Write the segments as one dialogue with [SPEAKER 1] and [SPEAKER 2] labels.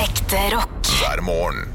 [SPEAKER 1] Ekte rock.
[SPEAKER 2] hver morgen.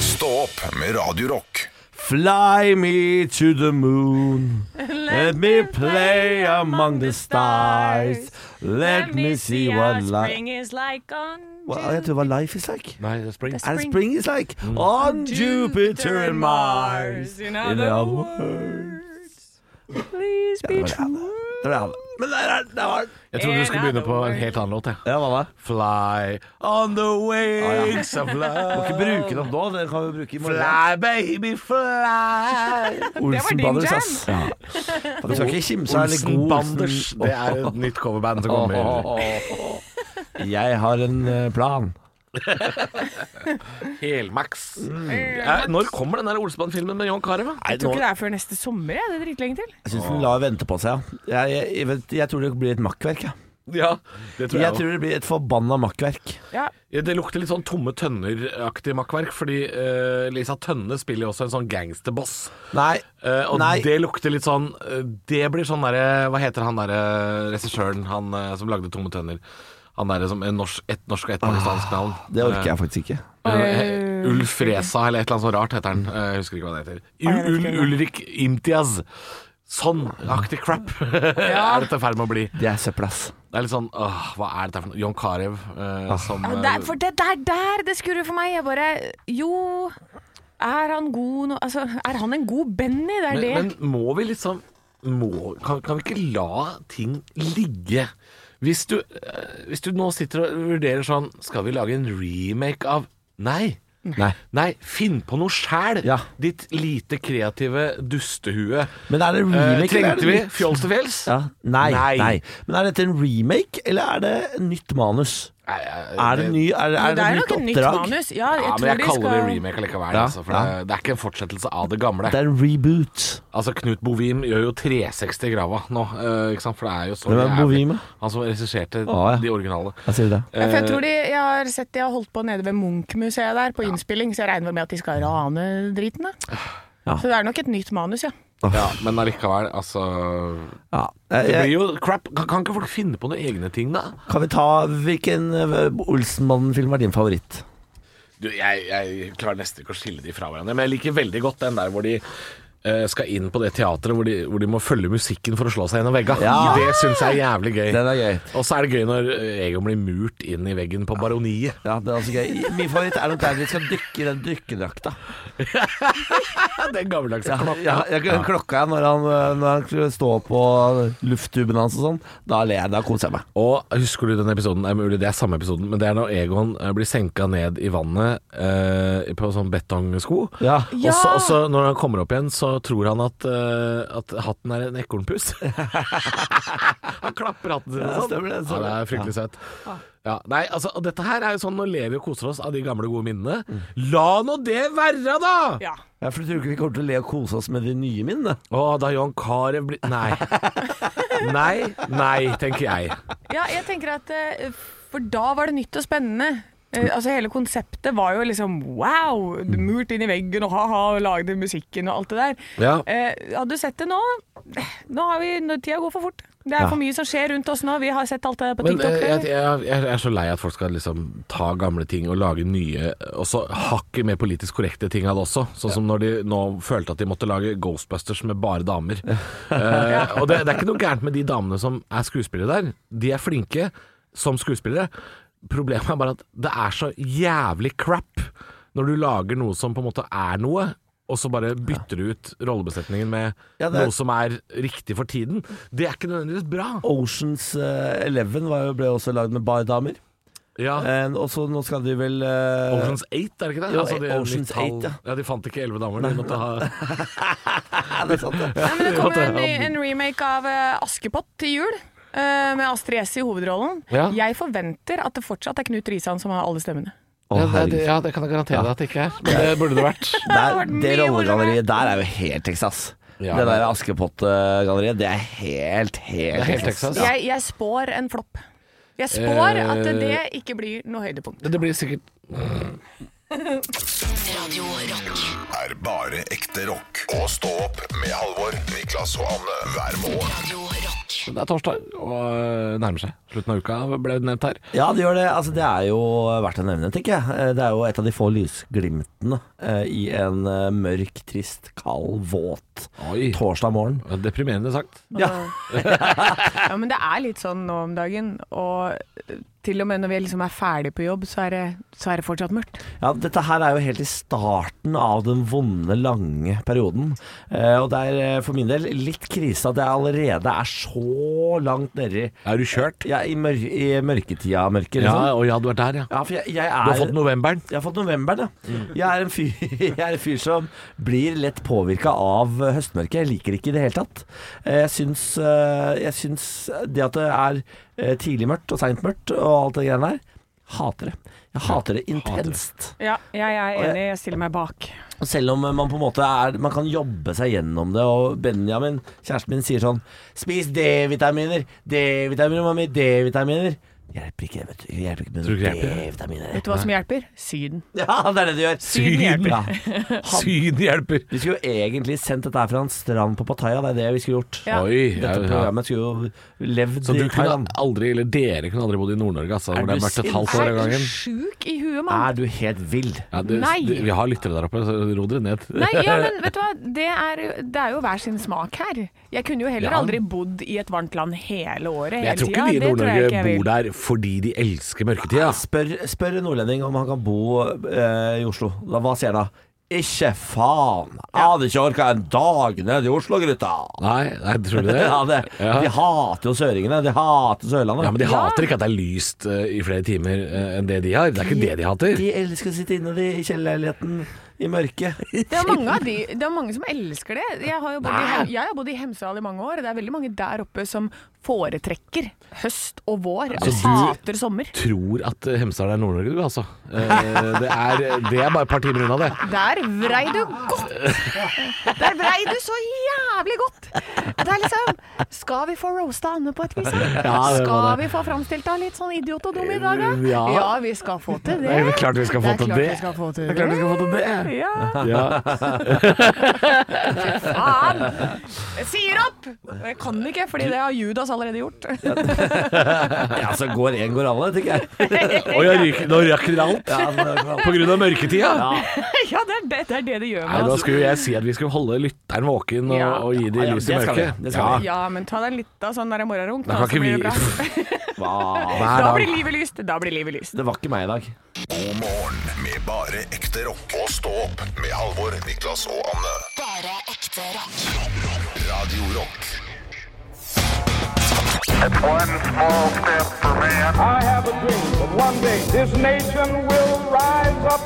[SPEAKER 2] Stå opp med Radio Rock.
[SPEAKER 3] Fly me to the moon. Let me play among the stars. Let me see what life
[SPEAKER 4] spring is like on
[SPEAKER 3] Jeg tror det var Life is like.
[SPEAKER 5] Nei, det er spring.
[SPEAKER 3] And spring is like on Jupiter and Mars.
[SPEAKER 4] In other words, please be true.
[SPEAKER 3] Det var det jeg hadde. Men der er der var den.
[SPEAKER 5] Jeg trodde du skulle begynne på en helt annen låt. Jeg.
[SPEAKER 3] Ja, hva da?
[SPEAKER 5] Fly oh, on the
[SPEAKER 3] Ah,
[SPEAKER 5] wings of
[SPEAKER 3] Må ikke
[SPEAKER 5] love.
[SPEAKER 3] bruke den opp nå. Den kan vi bruke i morgen.
[SPEAKER 5] Fly, baby, fly.
[SPEAKER 3] Olsen
[SPEAKER 4] din
[SPEAKER 3] Brothers,
[SPEAKER 4] jam.
[SPEAKER 3] ass. Ja. Du skal ikke kimse av
[SPEAKER 5] Olsen
[SPEAKER 3] god
[SPEAKER 5] Banders. Det er et nytt coverband som kommer.
[SPEAKER 3] Jeg har en eh, plan.
[SPEAKER 5] Helmax. Eh, Når kommer den der Olsenband-filmen med John Carew? da?
[SPEAKER 3] Jeg
[SPEAKER 4] Tror ikke det er før neste sommer, jeg. Det er dritlenge til.
[SPEAKER 3] Jeg syns den lar vente på seg. ja. Jeg, jeg, jeg, vet- jeg tror det blir et makkverk. Ja.
[SPEAKER 5] Ja, det tror jeg,
[SPEAKER 3] Jeg
[SPEAKER 5] også.
[SPEAKER 3] tror det blir et forbanna makkverk.
[SPEAKER 4] Ja,
[SPEAKER 5] Ja, Det lukter litt sånn tomme tønner-aktig makkverk, fordi eh, Lisa Tønne spiller jo også en sånn gangsterboss.
[SPEAKER 3] Nei.
[SPEAKER 5] Eh, og
[SPEAKER 3] Nei.
[SPEAKER 5] det lukter litt sånn eh, Det blir sånn derre Hva heter han derre regissøren han eh, som lagde Tomme tønner? Han derre som er norsk, et norsk og et pakistansk navn.
[SPEAKER 3] Ah, Det orker jeg faktisk ikke.
[SPEAKER 5] Eh, Ulf Reza eller et eller annet sånt rart heter han. Eh, Jeg husker ikke hva det heter.
[SPEAKER 4] jeg vet
[SPEAKER 5] Ul
[SPEAKER 4] ikke hvem.
[SPEAKER 5] Ulrik Imtiaz. Sånn aktig crap er dette i ferd med å bli.
[SPEAKER 3] Det er søpplass.
[SPEAKER 5] Det er litt sånn åh, Hva er dette for noe? John Carew eh,
[SPEAKER 3] Ah.
[SPEAKER 5] som
[SPEAKER 4] Ja,
[SPEAKER 5] eh,
[SPEAKER 4] der, for det der, der det skurrer for meg. Jeg bare Jo, er han god nå Altså, er han en god Benny? Det er det.
[SPEAKER 5] men, men må vi liksom må, kan, kan vi ikke la ting ligge? Hvis du, eh, hvis du nå sitter og vurderer sånn Skal vi lage en remake av Nei.
[SPEAKER 4] Mm.
[SPEAKER 3] Nei.
[SPEAKER 5] Nei, finn på noe sjæl!
[SPEAKER 3] Ja.
[SPEAKER 5] Ditt lite kreative dustehue.
[SPEAKER 3] Men er det
[SPEAKER 5] Eh,
[SPEAKER 3] remake? eller er
[SPEAKER 5] trengte
[SPEAKER 3] det
[SPEAKER 5] vi
[SPEAKER 3] nytt?
[SPEAKER 5] fjols til fjells?
[SPEAKER 3] Ja. Nei,
[SPEAKER 5] Nei.
[SPEAKER 3] nei. Men er dette en remake, eller er det nytt manus?
[SPEAKER 5] Nei, jeg-
[SPEAKER 3] Er Eh, det, ny, er, det- er
[SPEAKER 4] Men
[SPEAKER 3] det,
[SPEAKER 4] det er
[SPEAKER 3] nytt
[SPEAKER 4] nok et nytt
[SPEAKER 3] oppdrag?
[SPEAKER 4] manus. Ja, jeg
[SPEAKER 5] ja,
[SPEAKER 4] tror
[SPEAKER 5] men jeg
[SPEAKER 4] de
[SPEAKER 5] kaller
[SPEAKER 4] skal
[SPEAKER 5] det remake allikevel.
[SPEAKER 3] Ja,
[SPEAKER 5] altså, for
[SPEAKER 3] ja.
[SPEAKER 5] det, det er ikke en fortsettelse av det gamle.
[SPEAKER 3] Det er en reboot.
[SPEAKER 5] Altså, Knut Bovim gjør jo 360 i grava nå, eh, ikke sant? for det er jo så
[SPEAKER 3] Hvem er
[SPEAKER 5] jævlig.
[SPEAKER 3] Bovim, da?
[SPEAKER 5] Han som regisserte
[SPEAKER 3] Å, ja.
[SPEAKER 5] de originale. Eh,
[SPEAKER 3] Hva sier du det?
[SPEAKER 4] Ja, for jeg tror de jeg har sett de har holdt på nede ved Munch-museet der på innspilling, så jeg regner med at de skal rane driten, da.
[SPEAKER 3] Ja.
[SPEAKER 4] Så det er nok et nytt manus, ja.
[SPEAKER 5] Ja, men allikevel, altså
[SPEAKER 3] Ja.
[SPEAKER 5] Det
[SPEAKER 3] Eh,
[SPEAKER 5] blir jo crap. Kan, kan ikke folk finne på noen egne ting, da?
[SPEAKER 3] Kan vi ta Hvilken eh, Olsenmannen-film er din favoritt?
[SPEAKER 5] Du, jeg, jeg klarer nesten ikke å skille de fra hverandre, men jeg liker veldig godt den der hvor de eh, skal inn på det teatret hvor de, hvor de må følge musikken for å slå seg gjennom vegga.
[SPEAKER 3] Ja!
[SPEAKER 5] Det syns jeg er jævlig gøy.
[SPEAKER 3] Den er gøy.
[SPEAKER 5] Og så er det gøy når eh, Egon blir murt inn i veggen på Baroniet.
[SPEAKER 3] Ja, det er altså gøy. Min favoritt er nok der vi skal dykke i den dykkerdrakta.
[SPEAKER 5] Ja, det er gammeldags
[SPEAKER 3] Ja,
[SPEAKER 5] klokka.
[SPEAKER 3] ja, jeg, klokka jeg når han, øh, når han skulle stå på lufttuben hans og sånn. Da ler jeg. Da koser jeg meg.
[SPEAKER 5] Og husker du den episoden? Det er mulig det er samme episoden, men det er når Egon eh, blir senka ned i vannet eh, på sånn betongsko.
[SPEAKER 3] Ja.
[SPEAKER 5] Og så- Og så når han kommer opp igjen, så tror han at, eh, at hatten er en ekornpus. han klapper hatten sin
[SPEAKER 3] Ja,
[SPEAKER 5] og sånn.
[SPEAKER 3] stemmer det,
[SPEAKER 5] Ja,
[SPEAKER 3] stemmer
[SPEAKER 5] det er fryktelig søtt. Ja, nei, altså, og dette her er jo sånn, Nå lever vi og koser oss av de gamle, gode minnene.
[SPEAKER 3] Mm.
[SPEAKER 5] La nå det være, da!
[SPEAKER 4] ja.
[SPEAKER 3] Ja, for du tror ikke vi kommer til å le og kose oss med de nye minnene?
[SPEAKER 5] Å, da John Carew blir Nei. Nei, nei, tenker jeg.
[SPEAKER 4] Ja, jeg tenker at eh, For da var det nytt og spennende. Eh, altså Hele konseptet var jo liksom wow!
[SPEAKER 5] Mm.
[SPEAKER 4] Murt inn i veggen og ha-ha, og lagde musikken og alt det der.
[SPEAKER 5] Ja.
[SPEAKER 4] Eh, hadde du sett det nå? Eh, Nå har vi, nå- Tida går for fort. Det er for mye som skjer rundt oss nå. Vi har sett alt det der på
[SPEAKER 5] Men
[SPEAKER 4] TikTok.
[SPEAKER 5] eh,
[SPEAKER 4] før.
[SPEAKER 5] jeg, jeg, jeg er så lei at folk skal liksom ta gamle ting og lage nye, og så hakket mer politisk korrekte ting av det også. Sånn som når de nå følte at de måtte lage Ghostbusters med bare damer. Eh, og det, det er ikke noe gærent med de damene som er skuespillere der. De er flinke som skuespillere. Problemet er bare at det er så jævlig crap når du lager noe som på en måte er noe. Og så bare bytter du ut rollebesetningen med
[SPEAKER 3] Ja, det er-
[SPEAKER 5] noe som er riktig for tiden. Det er ikke nødvendigvis bra.
[SPEAKER 3] Oceans eh, Eleven var jo, ble også lagd med bare damer.
[SPEAKER 5] Ja.
[SPEAKER 3] Eh, og så nå skal de vel eh,
[SPEAKER 5] Oceans 8, er det ikke det? Altså,
[SPEAKER 3] Jo,
[SPEAKER 5] de,
[SPEAKER 3] Oceans
[SPEAKER 5] de tall-
[SPEAKER 3] 8, ja.
[SPEAKER 5] De fant ikke 11 damer, de måtte ha
[SPEAKER 3] Ja, det er sant, det.
[SPEAKER 4] Nei, men det kommer en, ny- en remake av eh, Askepott til jul. eh, Med Astrid S i hovedrollen.
[SPEAKER 5] Ja.
[SPEAKER 4] Jeg forventer at det fortsatt er Knut Risan som har alle stemmene.
[SPEAKER 3] Å, herregud.
[SPEAKER 5] ja, det kan jeg garantere deg at det ikke er. Men det burde det vært.
[SPEAKER 3] Der,
[SPEAKER 4] vært
[SPEAKER 3] det
[SPEAKER 4] mye
[SPEAKER 3] rollegalleriet der er jo helt Texas.
[SPEAKER 5] Ja,
[SPEAKER 3] det
[SPEAKER 5] det-
[SPEAKER 3] der Askepott-galleriet, det er helt, helt,
[SPEAKER 5] er helt Texas.
[SPEAKER 3] Ja.
[SPEAKER 4] Jeg, jeg spår en flopp. Jeg spår at
[SPEAKER 5] Eh.
[SPEAKER 4] det ikke blir noe høydepunkt.
[SPEAKER 5] Det blir sikkert
[SPEAKER 1] Radio Rock.
[SPEAKER 2] Er bare ekte rock. Og stå opp med Halvor, Niklas og Anne hver morgen.
[SPEAKER 1] Radio Rock.
[SPEAKER 5] Det er torsdag, og eh, nærmer seg. Slutten av uka ble nevnt her.
[SPEAKER 3] Ja, det gjør det. Altså, det er jo verdt å nevne, tenker jeg. Eh, Det er jo et av de få lysglimtene eh, i en eh, mørk, trist, kald, våt
[SPEAKER 5] Oi.
[SPEAKER 3] torsdag morgen.
[SPEAKER 5] Deprimerende sagt.
[SPEAKER 4] Ja, men det er litt sånn nå om dagen. Og til og med når vi liksom er ferdig på jobb, så er det, så er det fortsatt mørkt.
[SPEAKER 3] Ja, dette her er jo helt i starten av den vonde, lange perioden. Eh, og det er eh, for min del litt krise at jeg allerede er så langt nedi
[SPEAKER 5] Er du kjørt?
[SPEAKER 3] ja, i, mør i mørketida, mørket.
[SPEAKER 5] Ja,
[SPEAKER 3] Liksom.
[SPEAKER 5] og ja, du er der, ja.
[SPEAKER 3] Ja, for jeg, jeg er
[SPEAKER 5] Du har fått novemberen.
[SPEAKER 3] Jeg har fått novemberen, ja.
[SPEAKER 5] Mm.
[SPEAKER 3] Jeg er en fyr, jeg er en fyr som blir lett påvirka av eh, høstmørket. Jeg liker det ikke i det hele tatt. Eh, Jeg syns, eh, jeg syns det at det er eh, tidlig mørkt og seint mørkt og alt det greiene der, hater det. Jeg hater det
[SPEAKER 5] hater det.
[SPEAKER 3] intenst.
[SPEAKER 4] Ja, jeg er
[SPEAKER 3] jeg-
[SPEAKER 4] enig. Jeg stiller meg bak.
[SPEAKER 3] Og Selv om eh, man på en måte er Man kan jobbe seg gjennom det, og Benjamin, kjæresten min, sier sånn Spis D-vitaminer! D-vitaminer, mammi! D-vitaminer! Hjelper ikke, vet du. Hjelper ikke med
[SPEAKER 5] Tror du ikke det hjelper?
[SPEAKER 3] D-vitaminer.
[SPEAKER 4] Vet du hva som hjelper? Syden.
[SPEAKER 3] Ja, det er det du gjør.
[SPEAKER 4] Syden hjelper.
[SPEAKER 3] Ja.
[SPEAKER 5] Syn hjelper.
[SPEAKER 3] Vi skulle jo egentlig sendt dette her fra en strand på Pattaya, det er det vi skulle gjort.
[SPEAKER 4] Ja.
[SPEAKER 5] Oi. ja,
[SPEAKER 3] Dette
[SPEAKER 5] ja.
[SPEAKER 3] programmet skulle jo levd
[SPEAKER 5] Så du
[SPEAKER 3] i
[SPEAKER 5] kunne
[SPEAKER 3] Thailand.
[SPEAKER 5] aldri, eller dere kunne aldri bodd i Nord-Norge, altså.
[SPEAKER 3] Er
[SPEAKER 5] Hvor
[SPEAKER 3] du
[SPEAKER 5] det har vært et
[SPEAKER 3] sinnssyk?
[SPEAKER 5] halvt år
[SPEAKER 4] Er
[SPEAKER 5] av
[SPEAKER 4] du
[SPEAKER 5] gangen.
[SPEAKER 4] sjuk i huet, mann?
[SPEAKER 3] Er du helt vill?
[SPEAKER 5] Ja, det,
[SPEAKER 4] Nei.
[SPEAKER 5] det, vi har lyttere der oppe, så ro dere ned.
[SPEAKER 4] Nei, ja, men vet du hva? Det er, det er jo hver sin smak her. Jeg kunne jo heller
[SPEAKER 5] Ja.
[SPEAKER 4] aldri bodd i et varmt land hele året.
[SPEAKER 5] Men
[SPEAKER 4] hele
[SPEAKER 5] jeg tror ikke
[SPEAKER 4] tida.
[SPEAKER 5] de i
[SPEAKER 4] Det tror jeg
[SPEAKER 5] Nord-Norge
[SPEAKER 4] ikke jeg vil.
[SPEAKER 5] bor der fordi de elsker mørketida.
[SPEAKER 3] Spør, spør en nordlending om han kan bo eh, i Oslo. Da, hva sier han da? Ikke faen! Jeg hadde ikke orka en dag ned i Oslo, gutta!
[SPEAKER 5] Nei, nei, tror du det?
[SPEAKER 3] Ja, det,
[SPEAKER 5] Ja.
[SPEAKER 3] De hater jo søringene. De hater Sørlandet.
[SPEAKER 5] Ja, men de hater ikke at det er lyst eh, i flere timer eh, enn det de har. Det er ikke det de hater.
[SPEAKER 3] De elsker å sitte inne de, i kjellerleiligheten i mørket.
[SPEAKER 4] Det er, mange av de, det er mange som elsker det. Jeg har jo bodd, i,
[SPEAKER 5] Nei.
[SPEAKER 4] Hem- jeg har bodd i Hemsedal i mange år, og det er veldig mange der oppe som foretrekker høst og vår. Og
[SPEAKER 5] Altså, du-
[SPEAKER 4] hater sommer.
[SPEAKER 5] Tror at eh, Hemsedal er Nord-Norge, du, altså. Eh, Det er, det er bare et par timer unna, det.
[SPEAKER 4] Der vrei du godt! Der vrei du så jævlig godt! Det er liksom Skal vi få roasta Anne på et vis? her?
[SPEAKER 5] Ja, det var
[SPEAKER 4] skal
[SPEAKER 5] det. Mm,
[SPEAKER 4] vi få framstilt deg litt sånn idiot og dum i dag, da?
[SPEAKER 5] Ja.
[SPEAKER 4] Ja, vi skal få til det.
[SPEAKER 5] Det er klart vi skal få
[SPEAKER 4] Det er
[SPEAKER 5] til
[SPEAKER 4] klart
[SPEAKER 5] det.
[SPEAKER 4] vi skal få til
[SPEAKER 5] Det er klart vi skal få til det.
[SPEAKER 4] Ja,
[SPEAKER 5] Ja.
[SPEAKER 4] faen! Jeg sier opp! Jeg kan ikke, fordi det har Judas allerede gjort.
[SPEAKER 3] Ja, så går én, går alle, tenker jeg.
[SPEAKER 5] Oi, jeg ryker- nå rakk dere alt
[SPEAKER 3] Ja, så går alle.
[SPEAKER 5] på grunn av mørketida.
[SPEAKER 4] Ja, det er det det, er det, det gjør
[SPEAKER 5] Nei,
[SPEAKER 4] med
[SPEAKER 5] da
[SPEAKER 4] oss.
[SPEAKER 5] skulle jeg si at vi skulle holde lytteren våken og,
[SPEAKER 4] Ja.
[SPEAKER 5] og gi
[SPEAKER 3] Ja,
[SPEAKER 5] dem
[SPEAKER 3] ja,
[SPEAKER 5] lys i
[SPEAKER 3] det skal vi,
[SPEAKER 5] mørket.
[SPEAKER 3] det skal vi.
[SPEAKER 4] Ja, men ta deg litt av sånn der morgenrunk,
[SPEAKER 5] Da
[SPEAKER 4] da,
[SPEAKER 5] kan
[SPEAKER 4] så
[SPEAKER 5] ikke
[SPEAKER 4] blir det
[SPEAKER 5] vi
[SPEAKER 4] bra.
[SPEAKER 3] Hva?
[SPEAKER 5] Hver
[SPEAKER 4] Da
[SPEAKER 5] dag.
[SPEAKER 4] blir livet lyst. Da blir livet lyst.
[SPEAKER 3] Det var ikke meg i dag.
[SPEAKER 2] God morgen med bare ekte rock. Og stå opp med Halvor, Niklas og Anne.
[SPEAKER 1] Bare ekte rock.
[SPEAKER 2] Radio Rock.
[SPEAKER 6] One small step for man.
[SPEAKER 7] I have a dream that one day this nation will rise up.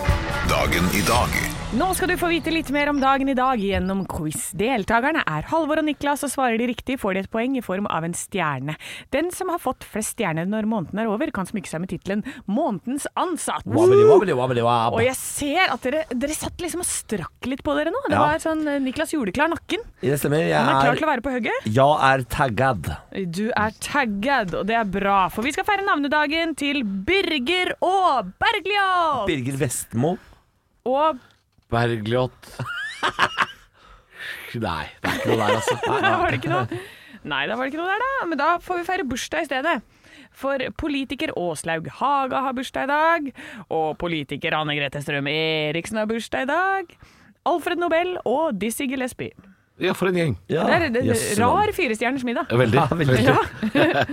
[SPEAKER 2] Dagen i dag.
[SPEAKER 4] Nå skal du få vite litt mer om dagen i dag gjennom quiz. Deltakerne er Halvor og Niklas, og svarer de riktig, får de et poeng i form av en stjerne. Den som har fått flest stjerner når måneden er over, kan smykke seg med tittelen 'Månedens ansatt'.
[SPEAKER 3] Wabbidi, wabbidi, wabbidi, wab.
[SPEAKER 4] Og jeg ser at dere, dere satt liksom og strakk litt på dere nå. Det
[SPEAKER 3] Ja.
[SPEAKER 4] var sånn eh, Niklas juleklar nakken.
[SPEAKER 3] Det stemmer. Jeg
[SPEAKER 4] Han er klar til
[SPEAKER 3] er,
[SPEAKER 4] å være på hugget.
[SPEAKER 3] jeg er taggad.
[SPEAKER 4] Du er tagged, og det er bra, for vi skal feire navnedagen til Birger og Bergljot!
[SPEAKER 3] Birger Vestmo.
[SPEAKER 4] Og
[SPEAKER 5] Bergljot Nei, det er ikke noe der, altså.
[SPEAKER 4] Da var det ikke noe. Nei, da var det ikke noe der, da. Men da får vi feire bursdag i stedet. For politiker Åslaug Haga har bursdag i dag. Og politiker Anne Grete Strøm Eriksen har bursdag i dag. Alfred Nobel og Dizzie Gillespie.
[SPEAKER 5] Ja, for en gjeng.
[SPEAKER 3] Ja.
[SPEAKER 4] Det er en
[SPEAKER 3] Jøss,
[SPEAKER 4] rar firestjerners middag.
[SPEAKER 5] Veldig.
[SPEAKER 3] Ja, veldig.
[SPEAKER 4] Ja.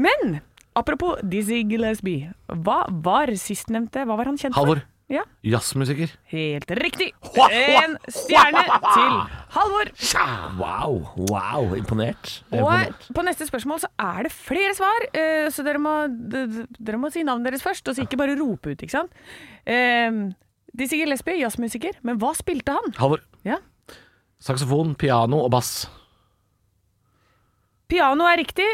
[SPEAKER 4] Men apropos Dizzie Gillespie. Hva var sistnevnte? Hva var han kjent for?
[SPEAKER 5] Halvor.
[SPEAKER 4] Ja,
[SPEAKER 5] Jazzmusiker.
[SPEAKER 4] helt riktig. En stjerne til Halvor.
[SPEAKER 3] Wow, wow, imponert. Eh, imponert.
[SPEAKER 4] Og på neste spørsmål så er det flere svar, eh, så dere må, d- d- dere må si navnet deres først, og så ikke bare rope ut, ikke sant? Eh, De sier Lesbie, jazzmusiker, men hva spilte han?
[SPEAKER 5] Halvor.
[SPEAKER 4] Ja.
[SPEAKER 5] Saksofon, piano og bass.
[SPEAKER 4] Piano er riktig,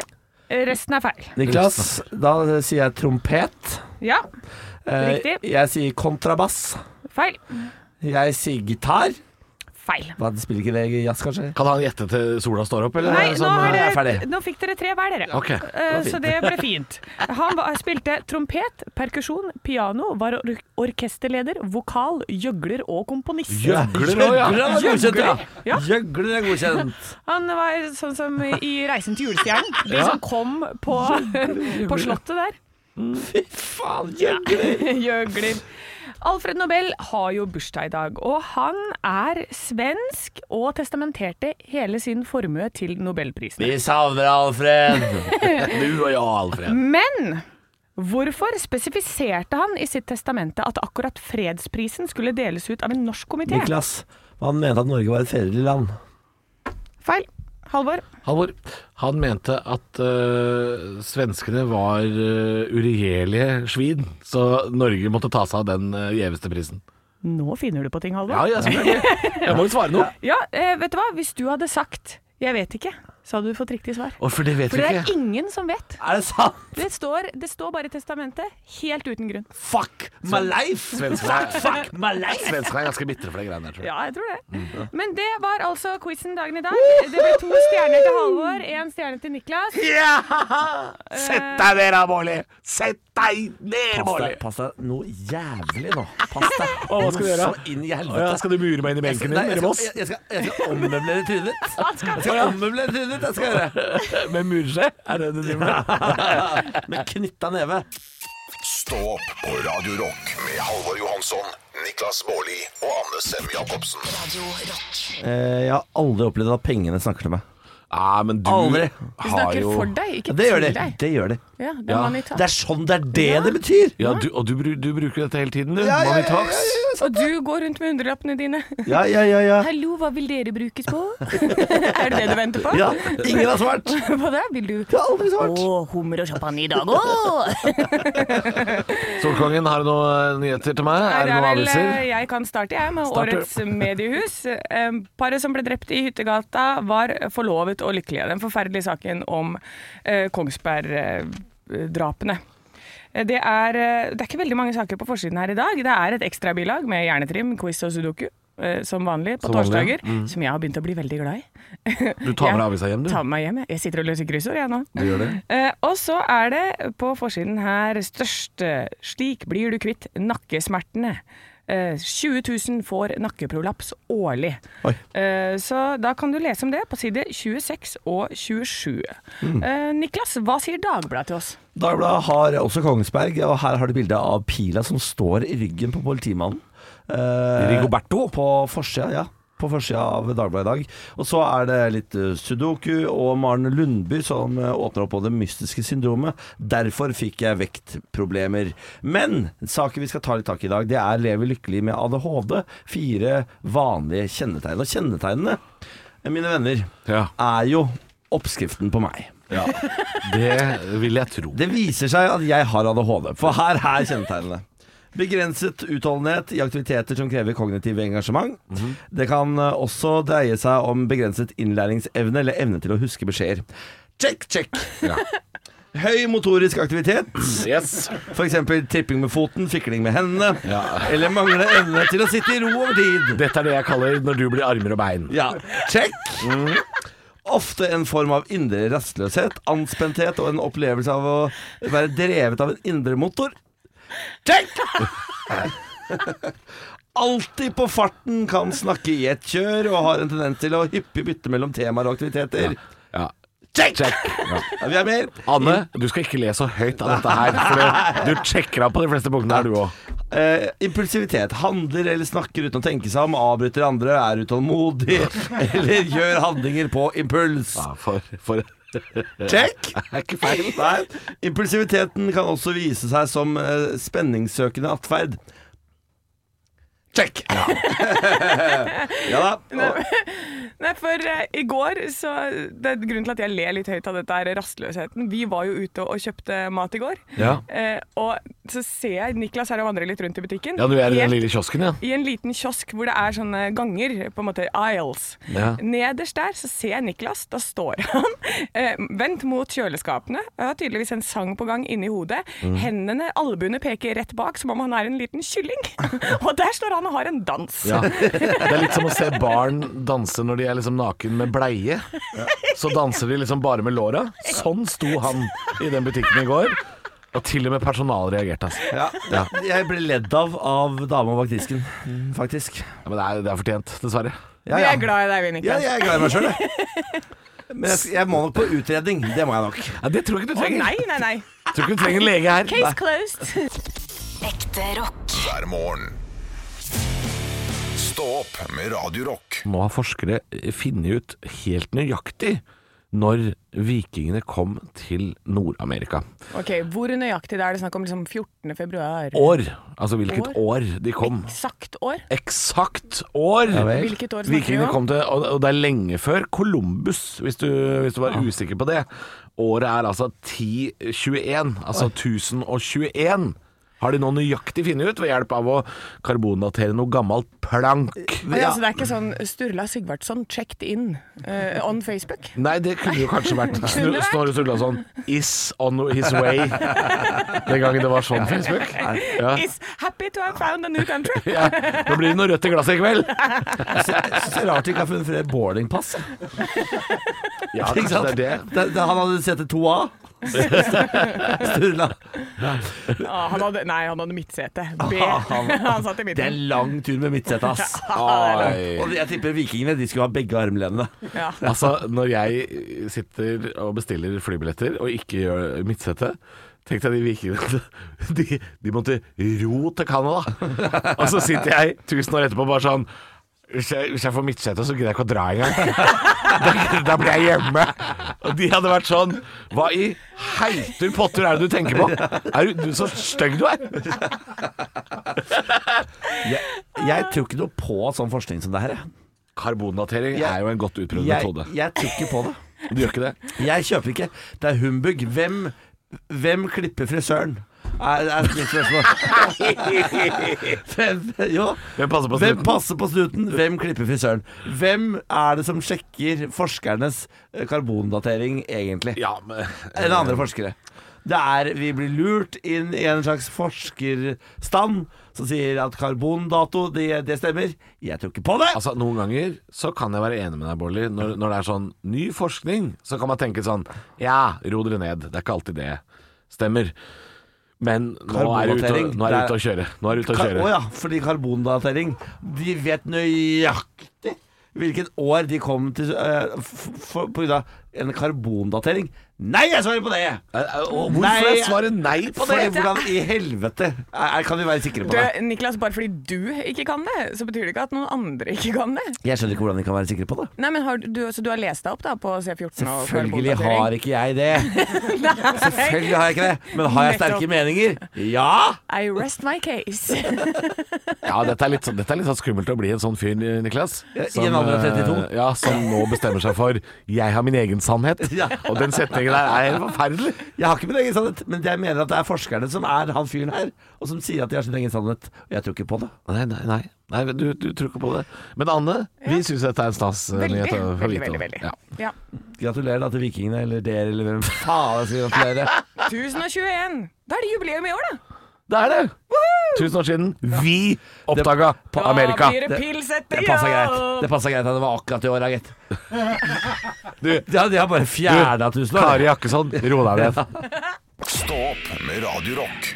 [SPEAKER 4] eh, resten er feil.
[SPEAKER 3] Niklas, da sier jeg trompet.
[SPEAKER 4] Ja,
[SPEAKER 3] Eh,
[SPEAKER 4] Riktig.
[SPEAKER 3] Jeg sier kontrabass.
[SPEAKER 4] feil.
[SPEAKER 3] Jeg sier gitar.
[SPEAKER 4] feil.
[SPEAKER 3] Hva, spiller ikke det jazz, kanskje?
[SPEAKER 5] Kan han gjette til sola står opp, eller?
[SPEAKER 4] Nei,
[SPEAKER 5] er det
[SPEAKER 4] nå,
[SPEAKER 5] sånn,
[SPEAKER 4] har
[SPEAKER 3] jeg er
[SPEAKER 4] dere,
[SPEAKER 3] ferdig.
[SPEAKER 4] nå fikk dere tre hver, dere.
[SPEAKER 5] Ok, det
[SPEAKER 4] Eh, så det ble fint. Han var, spilte trompet, perkusjon, piano, var or orkesterleder, vokal, gjøgler og komponist.
[SPEAKER 5] Gjøgler òg, ja.
[SPEAKER 3] Gjøgler er godkjent, ja.
[SPEAKER 4] Ja.
[SPEAKER 3] Gjøgler er godkjent.
[SPEAKER 4] Han var sånn som i Reisen til julestjernen. De som kom på, på slottet der.
[SPEAKER 3] Fy faen, gjøgler!
[SPEAKER 4] Gjøgler. Alfred Nobel har jo bursdag i dag, og han er svensk og testamenterte hele sin formue til Nobelprisen.
[SPEAKER 3] Vi savner Alfred.
[SPEAKER 5] Du og jeg, Alfred.
[SPEAKER 4] Men hvorfor spesifiserte han i sitt testamente at akkurat fredsprisen skulle deles ut av en norsk komité?
[SPEAKER 3] Niklas, han mente at Norge var et fredelig land.
[SPEAKER 4] Feil. Halvor.
[SPEAKER 5] Halvor, han mente at øh, svenskene var øh, uregjerlige svin, så Norge måtte ta seg av den øh, gjeveste prisen.
[SPEAKER 4] Nå finner du på ting, Halvor.
[SPEAKER 5] Ja, ja, selvfølgelig. Jeg må jo svare noe.
[SPEAKER 4] Ja, eh, vet du hva? Hvis du hadde sagt 'jeg vet ikke', så hadde du fått riktig svar.
[SPEAKER 5] Å, for det vet
[SPEAKER 4] For
[SPEAKER 5] vi
[SPEAKER 4] det er
[SPEAKER 5] ikke.
[SPEAKER 4] ingen som vet.
[SPEAKER 3] Er det sant?
[SPEAKER 4] Det står, det står bare i testamentet, helt uten grunn.
[SPEAKER 3] Fuck my life!
[SPEAKER 5] Svenskene er,
[SPEAKER 3] Fuck my life!
[SPEAKER 5] svenskene er ganske bitre for de greiene der, tror jeg.
[SPEAKER 4] Mm, Ja, jeg tror det. Men det var altså quizen dagen i dag. Det ble to stjerner til Halvor, én stjerne til Niklas.
[SPEAKER 5] Sett deg ned, da, Bårli! Sett deg ned,
[SPEAKER 3] Pass deg, pass deg noe jævlig nå. Pass deg
[SPEAKER 5] hva skal du gjøre?
[SPEAKER 3] Så inn i
[SPEAKER 5] Å ja,
[SPEAKER 3] helvete.
[SPEAKER 5] skal du mure meg inn i
[SPEAKER 3] Jeg skal-
[SPEAKER 5] benken
[SPEAKER 3] nei,
[SPEAKER 5] din
[SPEAKER 3] jeg
[SPEAKER 5] nede i Voss?
[SPEAKER 3] skal- Jeg skal jeg skal ommøblere trynet ditt. Jeg skal ommøblere trynet ditt, jeg skal gjøre.
[SPEAKER 5] Med mureskje? Er det det du driver med?
[SPEAKER 3] Med knytta neve.
[SPEAKER 2] Stå opp på Radio Rock med Halvor Johansson, Niklas Baarli og Anne Sem Jacobsen.
[SPEAKER 1] Radio Rock.
[SPEAKER 3] Eh, Jeg har aldri opplevd at pengene snakker til meg.
[SPEAKER 5] Nei, men du
[SPEAKER 3] Aldri.
[SPEAKER 4] De
[SPEAKER 5] har
[SPEAKER 4] snakker
[SPEAKER 5] jo
[SPEAKER 4] for deg, ikke
[SPEAKER 3] Det gjør
[SPEAKER 4] til
[SPEAKER 3] de.
[SPEAKER 4] deg.
[SPEAKER 3] Det gjør de.
[SPEAKER 4] Ja, det er
[SPEAKER 5] Ja.
[SPEAKER 4] money talk.
[SPEAKER 3] Det er sånn det er det det betyr!
[SPEAKER 5] Ja, du, og du, bru- du bruker dette hele tiden, du.
[SPEAKER 3] Ja, ja, ja,
[SPEAKER 5] Money
[SPEAKER 3] ja,
[SPEAKER 5] talks.
[SPEAKER 4] Og du går rundt med hundrelappene dine.
[SPEAKER 3] Ja, ja, ja, ja.
[SPEAKER 4] Hallo, hva vil dere brukes på? er det det du venter på?
[SPEAKER 3] ja ingen har svart!
[SPEAKER 4] På det? Vil du
[SPEAKER 3] Jeg har aldri svart.
[SPEAKER 4] hummer og champagne i dag òg!
[SPEAKER 5] Solkongen, har du noen nyheter til meg? Er det noen aviser?
[SPEAKER 4] eh, jeg kan starte jeg med
[SPEAKER 5] Starte.
[SPEAKER 4] årets mediehus. Eh, Paret som ble drept i hyttegata, var forlovet og lykkelige. Den forferdelige saken om eh, Kongsberg-drapene. Det er, eh, det er ikke veldig mange saker på forsiden her i dag. Det er et ekstrabilag med hjernetrim, quiz og sudoku, eh, som vanlig på
[SPEAKER 5] Som vanlig, ja. Mm.
[SPEAKER 4] torsdager. Som jeg har begynt å bli veldig glad i.
[SPEAKER 5] Du tar
[SPEAKER 4] Jeg
[SPEAKER 5] med deg avisa hjem, du.
[SPEAKER 4] Tar med meg hjem, jeg. Jeg sitter og løser kryssord, jeg nå.
[SPEAKER 5] Du gjør det.
[SPEAKER 4] Eh, og så er det på forsiden her størst eh, Slik blir du kvitt nakkesmertene. Eh, 20 000 får nakkeprolaps årlig.
[SPEAKER 3] Oi.
[SPEAKER 4] Eh, så da kan du lese om det på side 26 og 27.
[SPEAKER 5] Mm.
[SPEAKER 4] Eh, Niklas, hva sier Dagbladet til oss?
[SPEAKER 3] Dagbladet har også Kongsberg, og her har du bilde av pila som står i ryggen på politimannen. Eh,
[SPEAKER 5] Rigoberto?
[SPEAKER 3] På forsida, ja. På forsida av Dagbladet i dag. Og så er det litt eh, Sudoku og Maren Lundby som eh, åpner opp på det mystiske syndromet. Derfor fikk jeg vektproblemer. Men saken vi skal ta litt tak i i dag, det er leve lykkelig med ADHD. Fire vanlige kjennetegn. Og kjennetegnene, eh, mine venner,
[SPEAKER 5] Ja.
[SPEAKER 3] er jo oppskriften på meg.
[SPEAKER 5] ja. Det vil jeg tro.
[SPEAKER 3] Det viser seg at jeg har ADHD, for her er kjennetegnene. Begrenset utholdenhet i aktiviteter som krever kognitiv engasjement. Det kan eh, også dreie seg om begrenset innlæringsevne eller evne til å huske beskjeder. Check, check.
[SPEAKER 5] Ja.
[SPEAKER 3] Høy motorisk aktivitet,
[SPEAKER 5] Yes.
[SPEAKER 3] f.eks. tripping med foten, fikling med hendene,
[SPEAKER 5] Ja.
[SPEAKER 3] eller manglende evne til å sitte i ro over tid.
[SPEAKER 5] Dette er det jeg kaller når du blir armer og bein.
[SPEAKER 3] Ja, check.
[SPEAKER 5] Mhm.
[SPEAKER 3] Ofte en form av indre rastløshet, anspenthet og en opplevelse av å være drevet av en indre motor. Check! Alltid på farten, kan snakke i ett kjør og har en tendens til å hyppig bytte mellom temaer og aktiviteter.
[SPEAKER 5] Ja.
[SPEAKER 3] Check!
[SPEAKER 5] Ja.
[SPEAKER 3] Ja, vi er mer.
[SPEAKER 5] Anne, du skal ikke le så høyt av dette her. For det- du sjekker av på de fleste punktene her, du òg.
[SPEAKER 3] Eh, impulsivitet. Handler eller snakker uten å tenke seg om, avbryter andre, er utålmodig eller gjør handlinger på impuls.
[SPEAKER 5] Ja, for, for
[SPEAKER 3] Check!
[SPEAKER 5] Det er ikke feil.
[SPEAKER 3] Nei. Impulsiviteten kan også vise seg som eh, spenningssøkende atferd. Check! Ja, da. Og,
[SPEAKER 4] Nei, for eh, i går, så det er Grunnen til at jeg ler litt høyt av dette, er rastløsheten. Vi var jo ute og kjøpte mat i går.
[SPEAKER 5] Ja.
[SPEAKER 4] Eh, og så ser jeg Niklas her og vandrer litt rundt i butikken.
[SPEAKER 5] ja, du er i den
[SPEAKER 4] Helt
[SPEAKER 5] lille kiosken, ja.
[SPEAKER 4] i en liten kiosk hvor det er sånne ganger, på en måte aisles.
[SPEAKER 5] Ja.
[SPEAKER 4] Nederst der så ser jeg Niklas, da står han eh, vendt mot kjøleskapene. Jeg har tydeligvis en sang på
[SPEAKER 5] Mm.
[SPEAKER 4] gang inni hodet. Hendene, albuene peker rett bak som om han er en liten kylling. og der står han han har en dans.
[SPEAKER 5] Ja. Det er litt som å se barn danse når de er liksom naken med bleie. Så danser de liksom bare med låra. Sånn sto han i den butikken i går. Og til og med personalet reagerte. Altså.
[SPEAKER 3] Ja. Jeg ble ledd av av dama bak disken, mm, faktisk.
[SPEAKER 5] Ja, men det er, det er fortjent, dessverre.
[SPEAKER 3] Ja,
[SPEAKER 4] Vi
[SPEAKER 3] ja.
[SPEAKER 4] er glad i deg, Vinnikas.
[SPEAKER 3] Ja, jeg er glad i meg sjøl, jeg. Men jeg, jeg må nok på utredning. Det må jeg nok.
[SPEAKER 5] Ja, det tror jeg ikke du
[SPEAKER 4] Å
[SPEAKER 5] trenger.
[SPEAKER 4] nei, nei, nei.
[SPEAKER 5] Tror ikke du trenger en lege her.
[SPEAKER 4] Case closed.
[SPEAKER 1] Ekte rock.
[SPEAKER 2] hver morgen. Stå opp med Radio Rock.
[SPEAKER 5] Nå har forskere funnet ut helt nøyaktig når vikingene kom til Nord-Amerika.
[SPEAKER 4] Ok, Hvor nøyaktig det er det snakk om? Liksom 14. februar?
[SPEAKER 5] År. Altså hvilket år, de kom.
[SPEAKER 4] Eksakt år?
[SPEAKER 5] Eksakt år!
[SPEAKER 3] vel.
[SPEAKER 4] Hvilket år snakker vi
[SPEAKER 5] Vikingene
[SPEAKER 4] om?
[SPEAKER 5] kom til, og og det er lenge før Columbus, hvis du, hvis du var usikker på det. Året er altså 1021, altså 1021. Har de nå nøyaktig funnet ut ved hjelp av å karbondatere noe gammelt plank?
[SPEAKER 4] Oi, altså, det er ikke sånn Sturla Sigvardsson checked in eh, on Facebook?
[SPEAKER 5] Nei, det kunne jo kanskje vært Snu-
[SPEAKER 4] vært.
[SPEAKER 5] Snorre Sturlason is on his way. Den gangen det var sånn Facebook. Ja.
[SPEAKER 4] Is happy to have found a new country.
[SPEAKER 5] Ja. Nå blir det noe rødt i glasset i kveld.
[SPEAKER 3] Så, så rart de ikke har funnet flere boardingpass.
[SPEAKER 5] Ja,
[SPEAKER 3] Ikke
[SPEAKER 5] kanskje
[SPEAKER 3] sant?
[SPEAKER 5] det er det.
[SPEAKER 3] Det, det, han hadde sett et 2A. Sturla.
[SPEAKER 4] Ah, han hadde, nei, han hadde midtsete. B.
[SPEAKER 3] Ah, Han- Ah.
[SPEAKER 4] Han satt i
[SPEAKER 3] Det er en
[SPEAKER 4] midten. Ah,
[SPEAKER 3] lang tur med midtsete, ass.
[SPEAKER 5] Oi.
[SPEAKER 3] Og jeg tipper vikingene de skulle ha begge armlenene.
[SPEAKER 4] Ja.
[SPEAKER 5] Altså, når jeg eh, sitter og bestiller flybilletter og ikke gjør midtsete Tenk deg de vikingene. De, de måtte ro til Canada. Og så sitter jeg tusen år etterpå bare sånn hvis jeg, hvis jeg får midtsete, så gidder jeg ikke å dra engang. Da, da blir jeg hjemme. Og de hadde vært sånn Hva i heiter potter er det du tenker på? Er du, du så stygg du er?
[SPEAKER 3] Jeg tror ikke noe på sånn forskning som det her. jeg.
[SPEAKER 5] Karbondatering er jo en godt utprøvd
[SPEAKER 3] Jeg,
[SPEAKER 5] metode.
[SPEAKER 3] jeg tror ikke på det.
[SPEAKER 5] Du gjør ikke det?
[SPEAKER 3] Jeg kjøper ikke. Det er humbug. Hvem, hvem klipper frisøren? Er, er mitt spørsmål. Hvem, jo.
[SPEAKER 5] Hvem passer på
[SPEAKER 3] Hvem
[SPEAKER 5] snuten?
[SPEAKER 3] passer på snuten? Hvem klipper frisøren? Hvem er det som sjekker forskernes eh, karbondatering, egentlig?
[SPEAKER 5] Ja, men
[SPEAKER 3] Eller andre forskere. Det er, Vi blir lurt inn i en slags forskerstand som sier at karbondato, det, det stemmer. Jeg tror ikke på det!
[SPEAKER 5] Altså, Noen ganger så kan jeg være enig med deg, Bolly. Når, når det er sånn ny forskning, så kan man tenke sånn Ja, ro dere ned. Det er ikke alltid det stemmer. Men nå er jeg ute,
[SPEAKER 3] Karbondatering,
[SPEAKER 5] nå er jeg
[SPEAKER 3] det er-
[SPEAKER 5] ute å kjøre. Nå er jeg ute å
[SPEAKER 3] Ka- Å
[SPEAKER 5] kjøre.
[SPEAKER 3] ja, fordi karbondatering De vet nøyaktig hvilket år de kom til uh, På grunn av en karbondatering. Nei, jeg svarer på det!
[SPEAKER 5] Eh, eh, og
[SPEAKER 3] Nei,
[SPEAKER 5] Hvorfor er
[SPEAKER 3] jeg-
[SPEAKER 5] svaret nei på det?
[SPEAKER 3] Fordi hvordan i helvete er, er, kan vi være sikre på
[SPEAKER 4] Du,
[SPEAKER 3] det?
[SPEAKER 4] Niklas, bare fordi du ikke kan det, så betyr det ikke at noen andre ikke kan det.
[SPEAKER 3] Jeg skjønner ikke hvordan de kan være sikre på det.
[SPEAKER 4] Nei, men har du, du- Så du har lest deg opp da på C14 og
[SPEAKER 3] Selvfølgelig har ikke jeg det. Selvfølgelig har jeg ikke det. Men har jeg sterke
[SPEAKER 4] Nettopp.
[SPEAKER 3] meninger? Ja!
[SPEAKER 4] I rest my case.
[SPEAKER 5] Ja, dette er, litt, sånn- dette er litt sånn skummelt å bli en sånn fyr, Niklas.
[SPEAKER 3] i en alder av
[SPEAKER 5] eh,
[SPEAKER 3] 32.
[SPEAKER 5] Ja, som nå bestemmer seg for 'jeg har min egen sannhet'.
[SPEAKER 3] Ja.
[SPEAKER 5] Og den setningen der er helt forferdelig.
[SPEAKER 3] Jeg har ikke min egen sannhet, men jeg mener at det er forskerne som er han fyren her, og som sier at de har sin egen sannhet. Og jeg tror ikke på det.
[SPEAKER 5] Nei, nei, nei. nei du, du tror ikke på det. Men Anne, vi syns dette er en stas eh,
[SPEAKER 4] Veldig,
[SPEAKER 5] nyhet å få
[SPEAKER 4] veldig,
[SPEAKER 5] vite om.
[SPEAKER 4] veldig. veldig.
[SPEAKER 5] Ja.
[SPEAKER 4] Ja.
[SPEAKER 3] Gratulerer da til vikingene, eller dere, eller hvem faen jeg skal gratulere.
[SPEAKER 4] 1021! Da er det jubileum i år, da!
[SPEAKER 5] Det er det! Tusen år siden vi oppdaga på
[SPEAKER 4] Da
[SPEAKER 5] Amerika.
[SPEAKER 4] blir det
[SPEAKER 3] Det-
[SPEAKER 4] pils etter
[SPEAKER 3] Det passa greit. Det passet greit at det var akkurat i år, da, gitt.
[SPEAKER 5] Du,
[SPEAKER 3] De har, de har bare fjerna tusen år.
[SPEAKER 5] Kari Jakkesson, ro deg ned.
[SPEAKER 2] Stå opp med Radio Rock.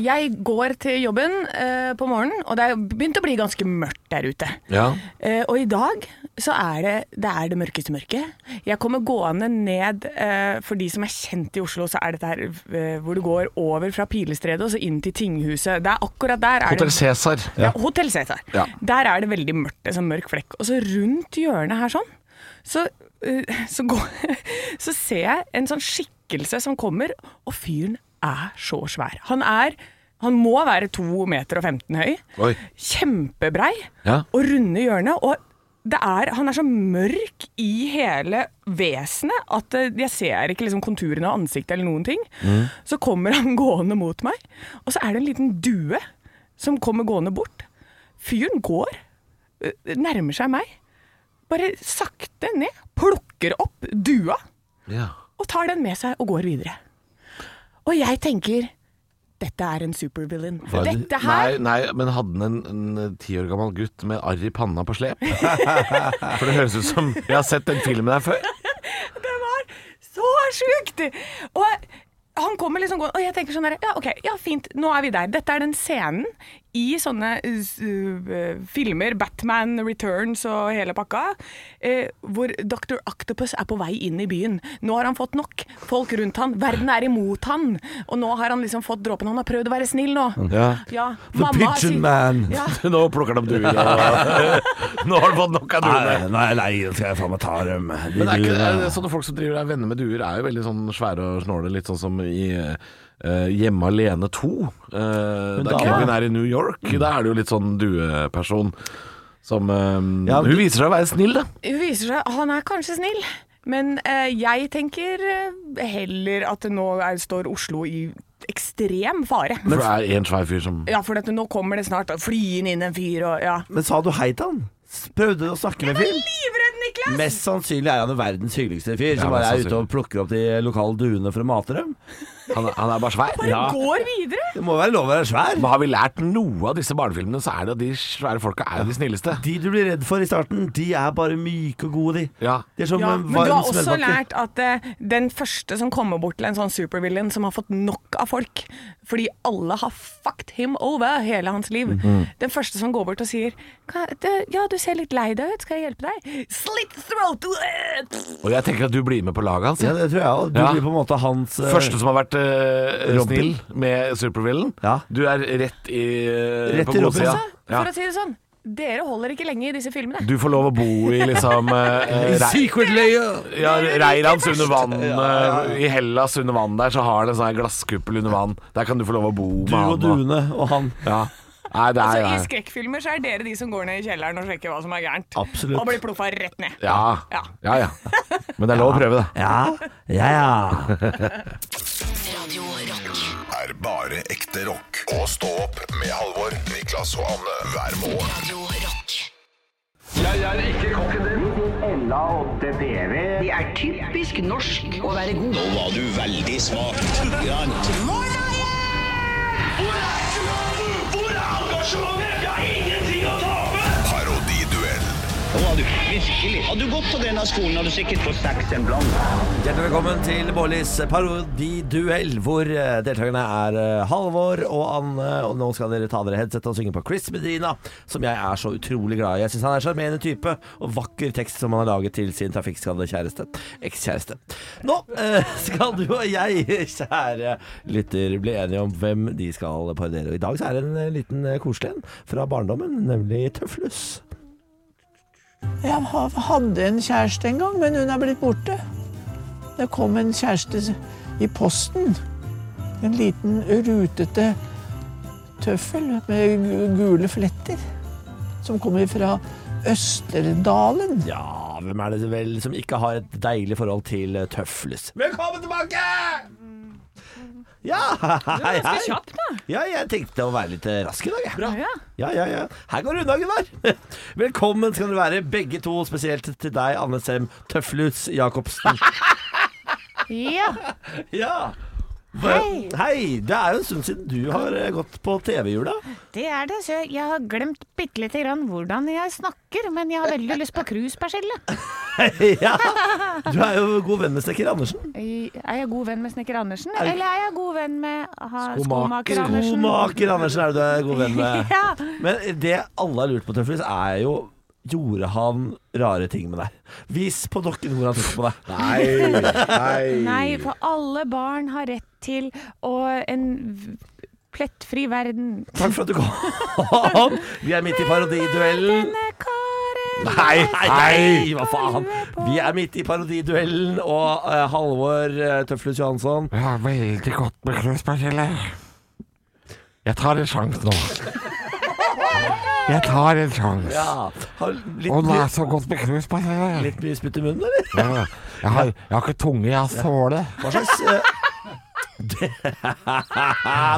[SPEAKER 4] Jeg går til jobben eh, på morgenen, og det er jo begynt å bli ganske mørkt der ute.
[SPEAKER 5] Ja.
[SPEAKER 4] Eh, og i dag så er det det, er det mørkeste mørket. Jeg kommer gående ned eh, For de som er kjent i Oslo, så er dette her eh, hvor du går over fra Pilestredet og så inn til Tinghuset. Det er akkurat der. Er
[SPEAKER 5] Hotell
[SPEAKER 4] det,
[SPEAKER 5] Cæsar.
[SPEAKER 4] ja, Hotell Cæsar.
[SPEAKER 5] Ja.
[SPEAKER 4] Der er det veldig mørkt, en sånn mørk flekk. Og så rundt hjørnet her sånn, så, eh, så, går, så ser jeg en sånn skikkelse som kommer, og fyren er så svær. Han er han må være 2 meter og 15 høy.
[SPEAKER 5] Oi.
[SPEAKER 4] Kjempebrei
[SPEAKER 5] Ja.
[SPEAKER 4] og runde hjørnet. Og det er, han er så mørk i hele vesenet at eh, jeg ser ikke liksom konturene av ansiktet eller noen ting.
[SPEAKER 5] Mm.
[SPEAKER 4] Så kommer han gående mot meg, og så er det en liten due som kommer gående bort. Fyren går, eh, nærmer seg meg, bare sakte ned, plukker opp dua
[SPEAKER 5] Ja.
[SPEAKER 4] og tar den med seg og går videre. Og jeg tenker Dette er en supervillain.
[SPEAKER 5] Var det-
[SPEAKER 4] Dette her
[SPEAKER 5] Nei, nei, men hadde han en- en ti år gammel gutt med arr i panna på slep? For det høres ut som Jeg har sett den filmen her før.
[SPEAKER 4] Det var så sjukt! Og han kommer liksom gående, og jeg tenker sånn der, ja, ok, ja, fint, nå er vi der. Dette er den scenen i sånne uh, filmer, Batman Returns og hele pakka, eh, hvor Dr. Octopus er på vei inn i byen. Nå har han fått nok. Folk rundt han, verden er imot han. Og nå har han liksom fått dråpen. Han har prøvd å være snill nå.
[SPEAKER 5] Ja.
[SPEAKER 4] Ja,
[SPEAKER 3] The
[SPEAKER 4] mamma
[SPEAKER 3] Pigeon
[SPEAKER 4] har sitt-
[SPEAKER 3] Man.
[SPEAKER 4] Ja,
[SPEAKER 5] Nå plukker de duer. og- Nå har du fått nok av duene.
[SPEAKER 3] nei, nei, nå skal jeg faen meg ta dem. De
[SPEAKER 5] Men er ikke
[SPEAKER 3] duene.
[SPEAKER 5] er det sånne folk som driver og er venner med duer, er jo veldig sånn svære og snåle, litt sånn som i eh, Hjemme alene 2. eh, da
[SPEAKER 3] dama-
[SPEAKER 5] Kevin er i New York, da er det jo litt sånn dueperson. Som eh,
[SPEAKER 3] Mm. Ja,
[SPEAKER 5] Hun viser seg å være snill, da.
[SPEAKER 4] Det viser seg han er kanskje snill, men eh, jeg tenker eh, heller at nå er, står Oslo i ekstrem fare.
[SPEAKER 5] For det er én svær fyr som
[SPEAKER 4] ja, for dette, nå kommer det snart flyende inn en fyr og ja.
[SPEAKER 3] Men sa du hei til han? Prøvde du å snakke med fyren?
[SPEAKER 4] Livredd, Niklas!
[SPEAKER 3] Mest sannsynlig er han jo verdens hyggeligste fyr,
[SPEAKER 5] Ja,
[SPEAKER 3] som bare er
[SPEAKER 5] mest
[SPEAKER 3] ute og plukker opp de lokale duene for å mate dem.
[SPEAKER 5] Han, er- han er bare svær.
[SPEAKER 4] Bare går videre!
[SPEAKER 3] Det må være lov å være svær.
[SPEAKER 5] Men har vi lært noe av disse barnefilmene, så er det at de svære folka er de snilleste.
[SPEAKER 3] De du blir redd for i starten, de er bare myke og gode, de.
[SPEAKER 5] Ja.
[SPEAKER 3] De er som
[SPEAKER 4] Ja,
[SPEAKER 3] en
[SPEAKER 4] men du
[SPEAKER 3] varm
[SPEAKER 4] har også
[SPEAKER 3] smellbakke.
[SPEAKER 4] lært at eh, den første som kommer bort til en sånn supervillain som har fått nok av folk, fordi alle har fucked him over hele hans liv,
[SPEAKER 3] Mm-hmm.
[SPEAKER 4] den første som går bort og sier «Hva- det- Ja, du ser litt lei deg ut, skal jeg hjelpe deg? Slit throat!
[SPEAKER 5] Og jeg tenker at du blir med på laget hans.
[SPEAKER 3] Ja,
[SPEAKER 5] jeg.
[SPEAKER 3] det tror jeg òg. Du
[SPEAKER 5] Ja.
[SPEAKER 3] blir på en måte hans eh,
[SPEAKER 5] Første som har vært eh,
[SPEAKER 3] Robin.
[SPEAKER 5] snill med supervillen.
[SPEAKER 3] Ja.
[SPEAKER 5] Du er rett i eh,
[SPEAKER 3] Rett
[SPEAKER 5] på
[SPEAKER 3] i Robin. altså?
[SPEAKER 5] godsida.
[SPEAKER 4] Så,
[SPEAKER 5] Ja.
[SPEAKER 4] for å si det sånn, dere holder ikke lenge i disse filmene.
[SPEAKER 5] Du får lov å bo i liksom eh,
[SPEAKER 3] I
[SPEAKER 5] rei-
[SPEAKER 3] Secret layer!
[SPEAKER 5] ja, Reirans under vann. eh, I Hellas under vann der så har han en sånn her glasskuppel under vann. Der kan du få lov å bo
[SPEAKER 3] Du og
[SPEAKER 5] med han.
[SPEAKER 3] duene og han.
[SPEAKER 5] Ja. Nei, det er,
[SPEAKER 4] Altså, I skrekkfilmer så er dere de som går ned i kjelleren og sjekker hva som er gærent.
[SPEAKER 3] Absolutt.
[SPEAKER 4] Og blir ploffa rett ned.
[SPEAKER 5] ja.
[SPEAKER 4] Ja.
[SPEAKER 5] ja, ja. Men det er lov å prøve, det.
[SPEAKER 3] Ja, ja, ja.
[SPEAKER 1] Radio Rock.
[SPEAKER 2] er bare ekte rock. Og stå opp med Halvor, Niklas og Anne hver morgen.
[SPEAKER 1] Radio Rock.
[SPEAKER 2] Parodiduell
[SPEAKER 8] Nå har du virkelig Hadde du gått på denne skolen, hadde du sikkert fått seks en blant.
[SPEAKER 3] Hjertelig velkommen til Bårlis parodiduell, hvor eh, deltakerne er eh, Halvor og Anne. Og nå skal dere ta dere headset og synge på Chris Medina, som jeg er så utrolig glad i. Jeg syns han er en sjarmerende type, og vakker tekst som han har laget til sin trafikkskadde kjæreste. Ekskjæreste. Nå eh, skal du og jeg, kjære lytter, bli enige om hvem de skal parodiere. Og i dag så er det en eh, liten eh, koselig en fra barndommen, nemlig Tøflus.
[SPEAKER 9] Jeg ha- hadde en kjæreste en gang, men hun er blitt borte. Det kom en kjæreste i posten. En liten rutete tøffel med gu- gule fletter. Som kommer fra Østerdalen.
[SPEAKER 3] Ja, hvem er det vel som ikke har et deilig forhold til eh, Tøflus? Velkommen tilbake! Ja, hei, hei.
[SPEAKER 4] Ganske kjapt, da.
[SPEAKER 3] Ja, jeg tenkte å være litt eh, rask i dag, jeg.
[SPEAKER 4] Ja.
[SPEAKER 3] Ja, ja, ja. Her går det unna, Gunnar. Velkommen skal dere være, begge to. Spesielt til deg, Anne Sem Tøflus Jacobsen. ja. Hei. Hei. Det er jo en stund siden du har eh, gått på TV-jula.
[SPEAKER 10] Det er det, så jeg har glemt bitte lite grann hvordan jeg snakker, men jeg har veldig lyst på cruisepersille.
[SPEAKER 3] ja. Du er jo god venn med Stekker Andersen.
[SPEAKER 10] Er jeg god venn med snekker Andersen, eller er jeg god venn med ha,
[SPEAKER 5] Skomaker.
[SPEAKER 10] skomaker Andersen?
[SPEAKER 3] Skomaker Andersen er du er god venn med.
[SPEAKER 10] Ja.
[SPEAKER 3] Men det alle har lurt på, Tøfflis, er jo Gjorde han rare ting med deg? Vis på dokken hvor han tok på deg.
[SPEAKER 10] Nei, for alle barn har rett til å en v- plettfri verden.
[SPEAKER 3] Takk for at du kom. Vi er midt i parodiduellen.
[SPEAKER 10] Denne karen
[SPEAKER 5] Nei,
[SPEAKER 3] Nei, hva faen? Vi er midt i parodiduellen, og eh, Halvor uh, Tøflus Johansson
[SPEAKER 5] Ja, veldig godt med kruspersille. Jeg tar en sjanse nå. Jeg tar en sjanse.
[SPEAKER 3] ja, har litt,
[SPEAKER 5] Å, det
[SPEAKER 3] mye-
[SPEAKER 5] er så godt med kruspersille.
[SPEAKER 3] litt mye spytt i munnen, eller?
[SPEAKER 5] Ja, Jeg, har- jeg har ikke tunge, jeg har såle.
[SPEAKER 3] Hva slags eh, det,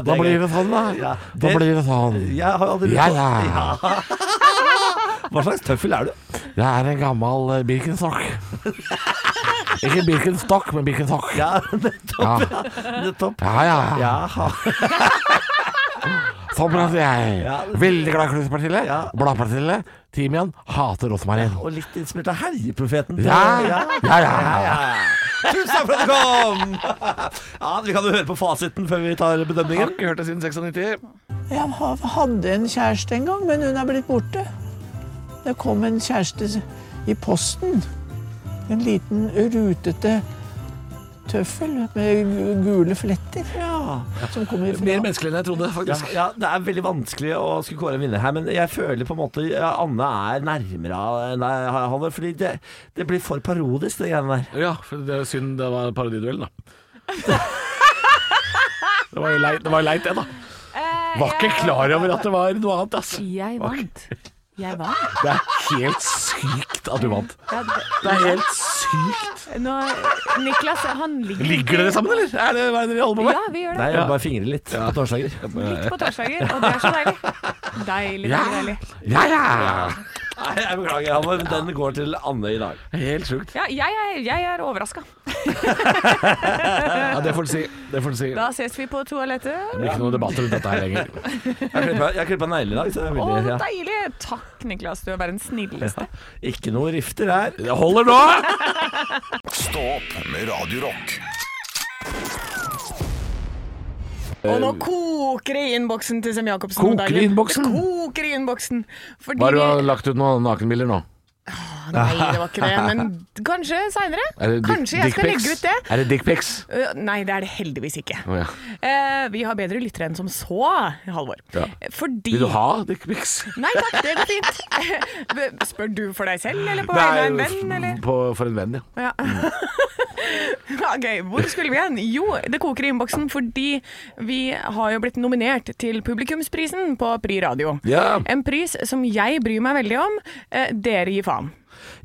[SPEAKER 5] Da blir det sånn, da.
[SPEAKER 3] Ja,
[SPEAKER 5] Da
[SPEAKER 3] det-
[SPEAKER 5] blir det sånn.
[SPEAKER 3] Jeg har aldri
[SPEAKER 5] Ja, ja.
[SPEAKER 3] Hva slags tøffel er du?
[SPEAKER 5] Jeg er en gammel eh, Birkenstock. Ikke Birkenstock, men Birkenstock.
[SPEAKER 3] Ja, nettopp.
[SPEAKER 5] Ja,
[SPEAKER 3] nettopp.
[SPEAKER 5] ja. ja.
[SPEAKER 3] Jaha.
[SPEAKER 5] Sånn prater jeg.
[SPEAKER 3] Ja.
[SPEAKER 5] Veldig glad i kløtspartille.
[SPEAKER 3] Ja.
[SPEAKER 5] Bladpartille. Timian. Hater rosmarin.
[SPEAKER 3] Og litt inspirert av Herjeprofeten.
[SPEAKER 5] Ja, ja, ja, ja.
[SPEAKER 3] Tusen takk for at du kom! Ja, Vi kan jo høre på fasiten før vi tar
[SPEAKER 5] Jeg
[SPEAKER 3] bedømningen.
[SPEAKER 5] har ikke hørt det siden 96.
[SPEAKER 9] Jeg ha- hadde en kjæreste en gang, men hun er blitt borte. Det kom en kjæreste i posten. En liten rutete tøffel med gu- gule fletter. Som kom ifra.
[SPEAKER 5] Mer menneskelig enn jeg trodde,
[SPEAKER 3] Ja,
[SPEAKER 5] faktisk.
[SPEAKER 3] ja, det er veldig vanskelig å skulle kåre en vinner her, men jeg føler på en måte ja, Anne er nærmere enn deg, Halvor. Fordi det, det blir for parodisk, det greiene der.
[SPEAKER 5] Ja, for det er synd det var parodiduellen, da. Det var jo leit, det, var jo leit, det da.
[SPEAKER 4] Eh,
[SPEAKER 5] Var ikke klar over at det var noe annet, ass.
[SPEAKER 10] Jeg vant. Jeg vant.
[SPEAKER 5] Det er helt sykt at du vant.
[SPEAKER 10] Ja, det-
[SPEAKER 5] Det er helt sykt.
[SPEAKER 10] nå, Niklas, han ligger
[SPEAKER 5] Ligger dere sammen, eller? Er det hva er det dere holder på med?
[SPEAKER 10] Ja, vi gjør det.
[SPEAKER 3] Nei, jeg bare fingrer litt på torsdager.
[SPEAKER 10] Litt på torsdager, og det er så deilig. Deilig,
[SPEAKER 5] Ja.
[SPEAKER 10] deilig, deilig.
[SPEAKER 5] Ja, ja.
[SPEAKER 3] Nei, jeg beklager, Halvor, men den går til Anne i dag.
[SPEAKER 5] Helt sjukt.
[SPEAKER 10] Ja, jeg er, jeg er overraska.
[SPEAKER 5] Ja, det får du si. Det får du si. Det
[SPEAKER 10] Da ses vi på toalettet.
[SPEAKER 5] blir ikke noe debatt rundt dette her lenger.
[SPEAKER 3] Jeg klippa- Jeg klippa negler i dag, så jeg
[SPEAKER 10] Å,
[SPEAKER 3] vil ja.
[SPEAKER 10] deilig! Takk, Niklas. Du er verdens snilleste.
[SPEAKER 3] Ikke noe rifter her.
[SPEAKER 5] Det holder nå!
[SPEAKER 2] Stå opp med Radio Rock.
[SPEAKER 4] Og nå koker det i innboksen til Sem Jacobsen. om
[SPEAKER 5] Koker
[SPEAKER 4] dagen.
[SPEAKER 5] i innboksen?
[SPEAKER 4] Det koker i innboksen. Fordi
[SPEAKER 5] Hva har
[SPEAKER 4] vi-
[SPEAKER 5] du lagt ut noen nakenbilder nå?
[SPEAKER 4] Nei, det var ikke det. Men kanskje seinere.
[SPEAKER 5] Er det dick-
[SPEAKER 4] Kanskje jeg skal
[SPEAKER 5] dickpics?
[SPEAKER 4] legge ut det.
[SPEAKER 5] Er det dickpics?
[SPEAKER 4] Øh, Nei, det er det heldigvis ikke.
[SPEAKER 5] Å, ja.
[SPEAKER 4] Eh, vi har bedre lyttere enn som så, Halvor.
[SPEAKER 5] Ja.
[SPEAKER 4] Fordi
[SPEAKER 5] Vil du ha dickpics?
[SPEAKER 4] Nei takk, det går fint. Spør du for deg selv, eller på vegne av en venn, eller?
[SPEAKER 5] På, for en venn, ja.
[SPEAKER 4] Ja. Mm. ok, hvor skulle vi hen? Jo, det koker i innboksen fordi vi har jo blitt nominert til publikumsprisen på Pri Radio.
[SPEAKER 5] Ja.
[SPEAKER 4] En pris som jeg bryr meg veldig om. Eh, dere gir faen.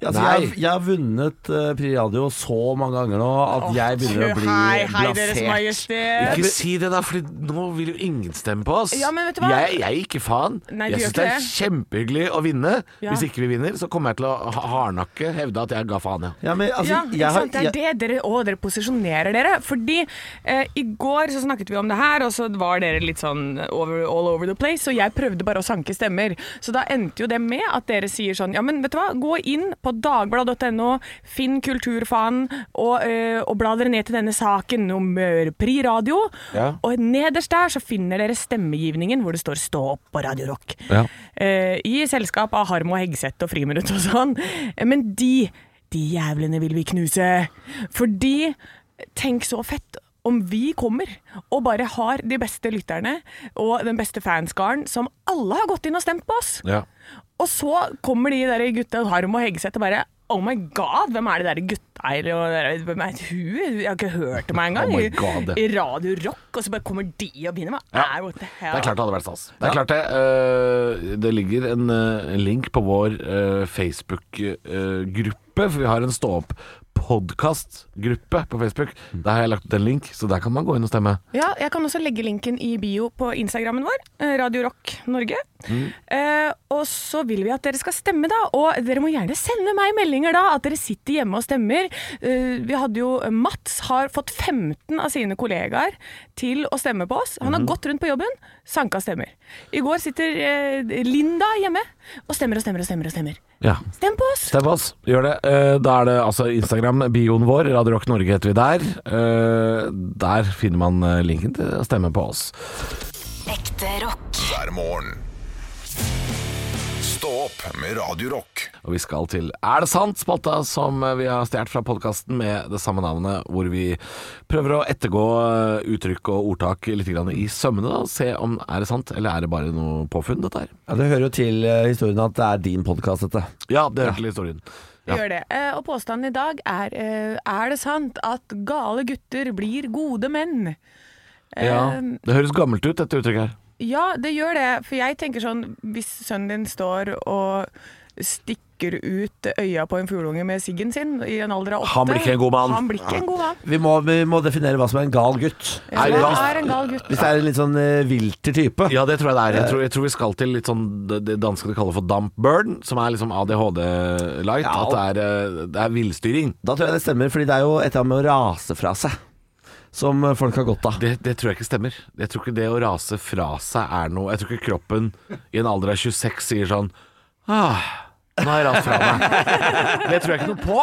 [SPEAKER 3] Ja, altså,
[SPEAKER 5] Nei.
[SPEAKER 3] jeg, jeg har vunnet uh, Pri Radio så mange ganger nå at jeg begynner å bli
[SPEAKER 4] Hei, hei, Deres
[SPEAKER 3] blasert.
[SPEAKER 4] Majestet.
[SPEAKER 5] Ikke si det, da, for nå vil jo ingen stemme på oss.
[SPEAKER 4] Eh, Ja, men vet du hva?
[SPEAKER 5] Jeg, jeg gir ikke faen.
[SPEAKER 4] Nei, du
[SPEAKER 5] jeg
[SPEAKER 4] gjør
[SPEAKER 5] syns det er
[SPEAKER 4] ikke
[SPEAKER 5] kjempehyggelig å vinne.
[SPEAKER 4] Ja.
[SPEAKER 5] Hvis ikke vi vinner, så kommer jeg til å ha- hardnakke hevde at jeg ga faen, ja.
[SPEAKER 3] Ja, men, altså,
[SPEAKER 4] Ja,
[SPEAKER 3] jeg
[SPEAKER 4] ikke
[SPEAKER 3] har,
[SPEAKER 4] sant? Det er
[SPEAKER 3] jeg,
[SPEAKER 4] det dere og dere posisjonerer dere. Fordi eh, i går så snakket vi om det her, og så var dere litt sånn over, all over the place, og jeg prøvde bare å sanke stemmer. Så da endte jo det med at dere sier sånn Ja, men vet du hva, gå inn på dagbladet.no, finn kulturfanen, og, eh, og bla dere ned til denne saken om eh, Pri Radio.
[SPEAKER 5] Ja.
[SPEAKER 4] Og nederst der så finner dere stemmegivningen hvor det står 'Stå opp' på Radio Rock.
[SPEAKER 5] Ja.
[SPEAKER 4] Eh, I selskap av Harm og Hegseth og Friminutt og sånn. Eh, Men de, de jævlene vil vi knuse. Fordi Tenk så fett om vi kommer og bare har de beste lytterne og den beste fanskaren som alle har gått inn og stemt på oss.
[SPEAKER 5] Ja.
[SPEAKER 4] Og så kommer de der gutta Harm og Hegseth og bare Oh my god, hvem er det der gutta her? Og der- Hvem er hun? Jeg har ikke hørt om henne engang.
[SPEAKER 5] Oh my God.
[SPEAKER 4] I Radio Rock, og så bare kommer de og vinner. Hva
[SPEAKER 5] Ja.
[SPEAKER 4] er what the hell?
[SPEAKER 5] Det er klart det hadde vært stas. Det er klart det. Øh, det ligger en øh, link på vår eh, Facebook-gruppe, for vi har en stå-opp-podkast-gruppe på Facebook.
[SPEAKER 4] Mm.
[SPEAKER 5] Der har jeg lagt ut en link, så der kan man gå inn og stemme.
[SPEAKER 4] Ja, jeg kan også legge linken i bio på Instagrammen vår, eh, Radio Rock Norge.
[SPEAKER 5] Mm.
[SPEAKER 4] Eh, og så vil vi at dere skal stemme, da. Og dere må gjerne sende meg meldinger da, at dere sitter hjemme og stemmer. Eh, vi hadde jo Mats har fått 15 av sine kollegaer til å stemme på oss. Han har
[SPEAKER 5] Mhm.
[SPEAKER 4] gått rundt på jobben, sanka stemmer. I går sitter eh, Linda hjemme og stemmer og stemmer og stemmer. og stemmer.
[SPEAKER 5] Ja.
[SPEAKER 4] Stem på oss!
[SPEAKER 5] Stem på oss, gjør det. Eh, Da er det altså Instagram-bioen vår, Radio Rock Norge heter vi der. Eh, Der finner man eh, linken til å stemme på oss.
[SPEAKER 1] Ekte rock.
[SPEAKER 2] hver morgen. Stå opp med Radio Rock.
[SPEAKER 5] Og vi skal til Er det sant? spalta som eh, vi har stjålet fra podkasten med det samme navnet, hvor vi prøver å ettergå eh, uttrykk og ordtak litt grann i sømmene. da, og Se om er det sant, eller er det bare noe påfunn, dette her.
[SPEAKER 3] ja, det hører jo til eh, historien at det er din podkast, dette.
[SPEAKER 5] Ja, det hørte til historien. Ja.
[SPEAKER 4] Gjør det. Eh, og påstanden i dag er eh, Er det sant at gale gutter blir gode menn?
[SPEAKER 5] Ja, det høres gammelt ut, dette uttrykket her.
[SPEAKER 4] Ja, det gjør det. For jeg tenker sånn Hvis sønnen din står og stikker ut øya på en fugleunge med siggen sin i en alder av åtte
[SPEAKER 5] Han blir ikke en god mann.
[SPEAKER 4] Han blir ikke en god mann.
[SPEAKER 3] Vi må, vi må definere hva som er en gal gutt.
[SPEAKER 4] Ja,
[SPEAKER 5] Er det
[SPEAKER 4] han
[SPEAKER 5] sant?
[SPEAKER 4] er en gal gutt.
[SPEAKER 3] Hvis det er en litt sånn eh, vilter type.
[SPEAKER 5] Ja, det tror jeg det er. Jeg tror, jeg tror vi skal til litt sånn det, det danskene kaller for dump burn, som er liksom ADHD-light.
[SPEAKER 3] Ja, og-
[SPEAKER 5] At det er, eh, det er villstyring.
[SPEAKER 3] Da tror jeg det stemmer, fordi det er jo et eller annet med å rase fra seg. som eh, folk har godt av.
[SPEAKER 5] Det, det tror jeg ikke stemmer. Jeg tror ikke det å rase fra seg er noe Jeg tror ikke kroppen i en alder av 26 sier sånn ah, Nå har jeg rast fra meg. Det tror jeg ikke noe på.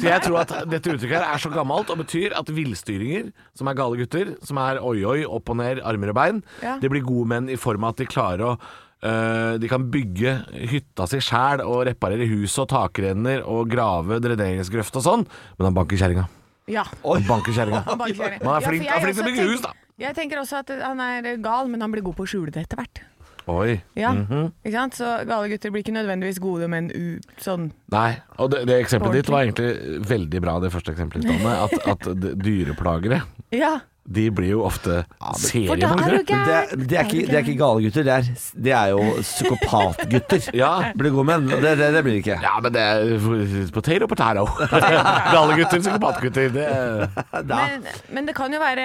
[SPEAKER 5] Så jeg tror at dette uttrykket her er så gammelt og betyr at villstyringer, som er gale gutter, som er oi-oi, opp og ned, armer og bein, de blir gode menn i form av at de klarer å øh, de kan bygge hytta si sjæl og reparere huset og takrenner og grave dreneringsgrøft og sånn, men han banker kjerringa.
[SPEAKER 4] Ja.
[SPEAKER 5] Han banker kjerringa. Man
[SPEAKER 4] Bankkjøring.
[SPEAKER 5] er
[SPEAKER 4] Ja, for
[SPEAKER 5] flink,
[SPEAKER 4] jeg
[SPEAKER 5] er flink til å
[SPEAKER 4] også
[SPEAKER 5] bygge hus,
[SPEAKER 4] tenker-
[SPEAKER 5] da.
[SPEAKER 4] Jeg tenker også at han er gal, men han blir god på å skjule det etter hvert.
[SPEAKER 5] Oi.
[SPEAKER 4] Ja,
[SPEAKER 5] Mhm.
[SPEAKER 4] ikke sant? Så gale gutter blir ikke nødvendigvis gode, men u sånn
[SPEAKER 5] Nei, og det, det eksempelet ditt var egentlig veldig bra, det første eksempelet ditt, Anne. At, at d- dyreplagere,
[SPEAKER 4] Ja,
[SPEAKER 5] de blir jo ofte
[SPEAKER 4] for da er
[SPEAKER 5] seriemordere.
[SPEAKER 4] du gæren!
[SPEAKER 3] Det, det, er ikke, det er ikke gale gutter, det er, det er jo psykopatgutter.
[SPEAKER 5] Ja.
[SPEAKER 3] Blir gode menn. og Det, det, det blir det ikke.
[SPEAKER 5] Ja, men det er potato, potato. Gale gutter, psykopatgutter. Det
[SPEAKER 4] Men, men det kan jo være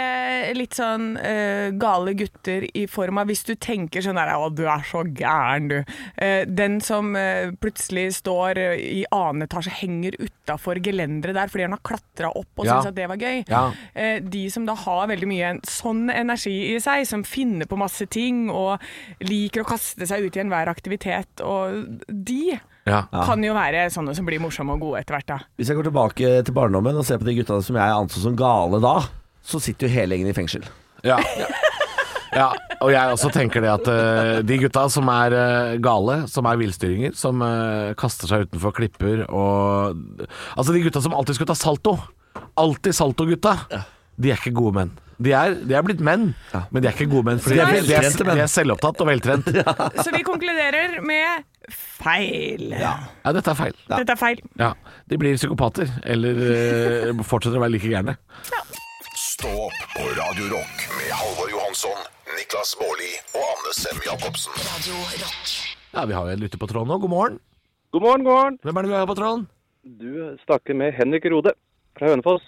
[SPEAKER 4] litt sånn eh, gale gutter i form av Hvis du tenker sånn der Å, du er så gæren, du. Eh, den som eh, plutselig står eh, i annen etasje, henger utafor gelenderet der fordi han har klatra opp og
[SPEAKER 5] Ja.
[SPEAKER 4] syns at det var gøy.
[SPEAKER 5] Ja.
[SPEAKER 4] Eh, de som da har veldig mye en sånn energi i seg, som finner på masse ting og liker å kaste seg ut i enhver aktivitet, og de
[SPEAKER 5] Ja.
[SPEAKER 4] kan jo være sånne som blir morsomme og gode etter hvert, da.
[SPEAKER 3] Hvis jeg går tilbake til barndommen og ser på de gutta som jeg anså som gale da, så sitter jo hele gjengen i fengsel.
[SPEAKER 5] Ja. ja. Og jeg også tenker det at eh, de gutta som er eh, gale, som er villstyringer, som eh, kaster seg utenfor klipper og Altså de gutta som alltid skulle ta salto. Alltid salto-gutta. De er ikke gode menn. De er, de er blitt menn, men de er ikke gode menn.
[SPEAKER 3] De
[SPEAKER 5] Fordi de
[SPEAKER 3] er
[SPEAKER 5] er, de
[SPEAKER 3] veltrente
[SPEAKER 5] er,
[SPEAKER 3] menn.
[SPEAKER 5] de er selvopptatt og veltrent.
[SPEAKER 4] Så vi konkluderer med feil.
[SPEAKER 5] Ja, dette er feil.
[SPEAKER 4] Dette er feil.
[SPEAKER 5] Ja. De blir psykopater, eller eh, fortsetter å være like gærne.
[SPEAKER 2] Stå opp på Radio Rock med Halvor Johansson, Niklas Baarli og Anne Sem Jacobsen.
[SPEAKER 1] Radio Rock.
[SPEAKER 5] Ja, vi har jo en lytter på tråden nå. God morgen.
[SPEAKER 11] God morgen, god morgen.
[SPEAKER 5] Hvem er det vi har på tråden?
[SPEAKER 11] Du snakker med Henrik Rode fra Hønefoss.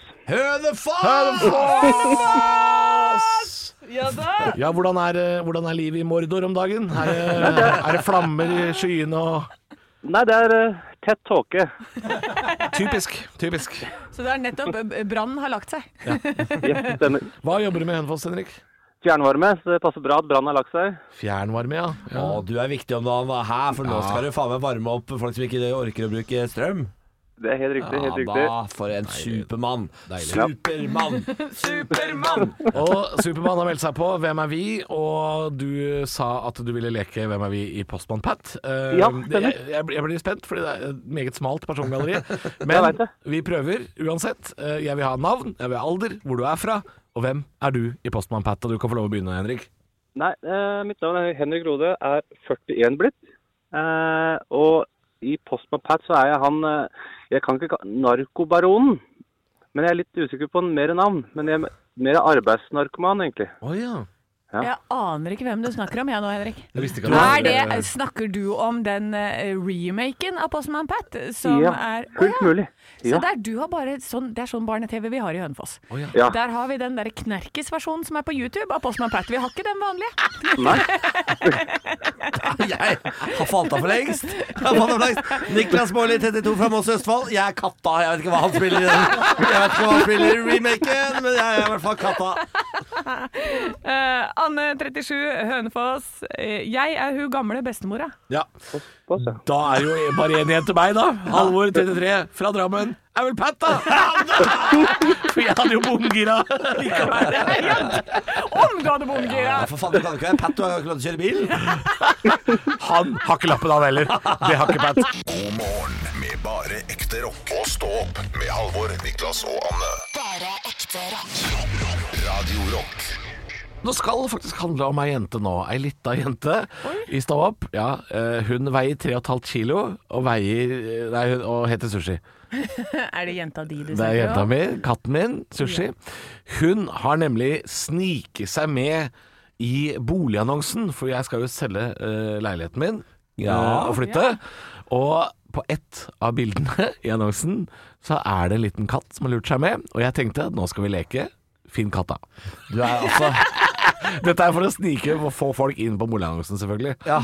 [SPEAKER 12] Ja da!
[SPEAKER 5] Ja, hvordan er, eh, hvordan er livet i Mordor om dagen? Er, det- er det flammer i skyene og
[SPEAKER 11] Nei, det er eh, tett tåke.
[SPEAKER 5] Typisk. typisk
[SPEAKER 4] Så det er nettopp eh, brannen har lagt seg.
[SPEAKER 11] Ja, stemmer.
[SPEAKER 5] Hva jobber du med i Hønefoss, Henrik?
[SPEAKER 11] Fjernvarme, så det passer bra at brannen har lagt seg.
[SPEAKER 5] Fjernvarme, ja.
[SPEAKER 3] Å,
[SPEAKER 5] ja.
[SPEAKER 3] du er viktig om dagen, hva her, for nå
[SPEAKER 5] Ja.
[SPEAKER 3] skal du faen meg varme opp folk som ikke orker å bruke strøm.
[SPEAKER 11] Det er helt riktig. helt riktig.
[SPEAKER 3] da, for en supermann.
[SPEAKER 5] Deilig.
[SPEAKER 3] Supermann! Supermann!
[SPEAKER 5] Og Supermann har meldt seg på. Hvem er vi? Og du sa at du ville leke Hvem er vi i Postmann Pat. Eh,
[SPEAKER 11] Ja,
[SPEAKER 5] det-
[SPEAKER 11] stemmer.
[SPEAKER 5] jeg, jeg blir- jeg blir spent, fordi det er et meget smalt persongalleri.
[SPEAKER 11] vet
[SPEAKER 5] Men
[SPEAKER 11] det.
[SPEAKER 5] vi prøver uansett. Eh, Jeg vil ha navn, jeg vil ha alder, hvor du er fra, og hvem er du i Postmann Pat? Og du kan få lov å begynne, Henrik.
[SPEAKER 11] Nei, eh, mitt navn er Henrik Rode, er 41 blitt. Eh, og i Postman Pat så er jeg han eh, Jeg kan ikke ka- narkobaronen, men jeg er litt usikker på mer navn. Men jeg er mer arbeidsnarkoman, egentlig.
[SPEAKER 5] Å ja.
[SPEAKER 4] Jeg aner ikke hvem du snakker om, jeg nå, Henrik.
[SPEAKER 5] Jeg visste ikke
[SPEAKER 4] Er
[SPEAKER 5] at
[SPEAKER 4] det, eh, snakker du om den eh, remaken av Postman Pat? Som
[SPEAKER 11] ja,
[SPEAKER 4] er Å
[SPEAKER 11] fullt mulig.
[SPEAKER 4] Så
[SPEAKER 11] Ja.
[SPEAKER 4] der du har bare sånn, Det er sånn barne-TV vi har i Hønefoss.
[SPEAKER 11] Ja.
[SPEAKER 4] Der har vi den der Knerkes-versjonen som er på YouTube av Postman Pat. Vi har ikke den vanlige.
[SPEAKER 11] Nei.
[SPEAKER 3] Jeg har falt av for lengst. Jeg har falt av for lengst. Niklas Baarli, 32 fra Moss i Østfold. Jeg er katta. Jeg vet ikke hva han spiller i den. Jeg vet ikke hva han spiller i remaken, men jeg er i hvert fall katta.
[SPEAKER 12] Eh, Anne 37, Hønefoss. Eh, jeg er hun gamle bestemora.
[SPEAKER 5] Ja.
[SPEAKER 11] Pass, ja.
[SPEAKER 5] Da er jo e- bare én igjen til meg, da. Halvor 33 fra Drammen. Er vel Pat, da! For jeg hadde jo bomgira.
[SPEAKER 12] Om du hadde bomgira!
[SPEAKER 3] Ja, for faen, du kan jo ikke være Pat, du har jo ikke lov til å kjøre bil.
[SPEAKER 5] Han har ikke lappen, han heller. Det har ikke Pat.
[SPEAKER 2] God morgen med bare ekte rock. Og stå opp med Halvor, Niklas og Anne.
[SPEAKER 1] Bare ekte rock.
[SPEAKER 2] Radio Rock
[SPEAKER 5] Nå skal det faktisk handle om ei jente nå. Ei lita jente i Stå opp. Ja, eh, hun veier 3,5 kilo og veier eh, Nei, hun og heter Sushi.
[SPEAKER 4] Er det jenta di du
[SPEAKER 5] Det er jenta
[SPEAKER 4] om?
[SPEAKER 5] mi, katten min, Sushi. Hun har nemlig sniket seg med i boligannonsen, for jeg skal jo selge eh, leiligheten min
[SPEAKER 3] Ja.
[SPEAKER 5] eh, og flytte. Og på ett av bildene i annonsen så er det en liten katt som har lurt seg med, og jeg tenkte at nå skal vi leke Finn katta.
[SPEAKER 3] Du er altså
[SPEAKER 5] Dette er for å snike og få folk inn på boligannonsen, selvfølgelig.
[SPEAKER 3] Ja.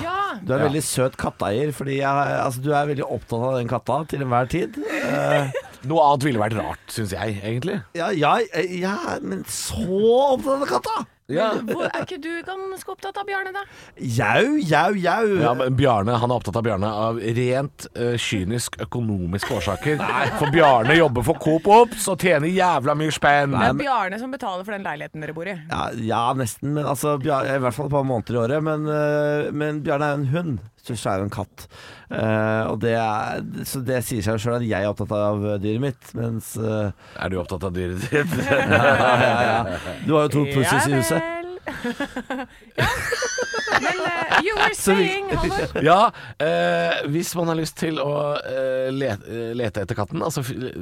[SPEAKER 3] Du er veldig søt katteeier, fordi jeg, altså, du er veldig opptatt av den katta til enhver tid. Eh,
[SPEAKER 5] Noe annet ville vært rart, syns jeg, egentlig.
[SPEAKER 3] Ja, ja, ja, men så opptatt av katta!
[SPEAKER 10] Hvor, er ikke du ganske opptatt av Bjarne, da?
[SPEAKER 3] Jau, jau, jau.
[SPEAKER 5] Ja, men Bjarne han er opptatt av Bjarne av rent eh, kynisk økonomiske årsaker. For Bjarne jobber for Coop Ops og tjener jævla mye spenn.
[SPEAKER 10] Det er Bjarne som betaler for den leiligheten dere bor i.
[SPEAKER 3] ja, ja, nesten. Men altså, Bjar- I hvert fall et par måneder i året. Men, eh, men Bjarne er jo en hund. Tusj er jo en katt. Eh, og det er, så det sier seg jo sjøl at jeg er opptatt av eh, dyret mitt, mens eh,
[SPEAKER 5] Er du opptatt av dyret ditt?
[SPEAKER 3] ja, ja, ja. Du har jo to pussies i huset.
[SPEAKER 10] Men eh, you were
[SPEAKER 3] Så vi-
[SPEAKER 10] saying, Halvor.
[SPEAKER 5] Ja, eh, hvis man har lyst til å eh, lete, eh, lete etter katten, altså, fi- eh,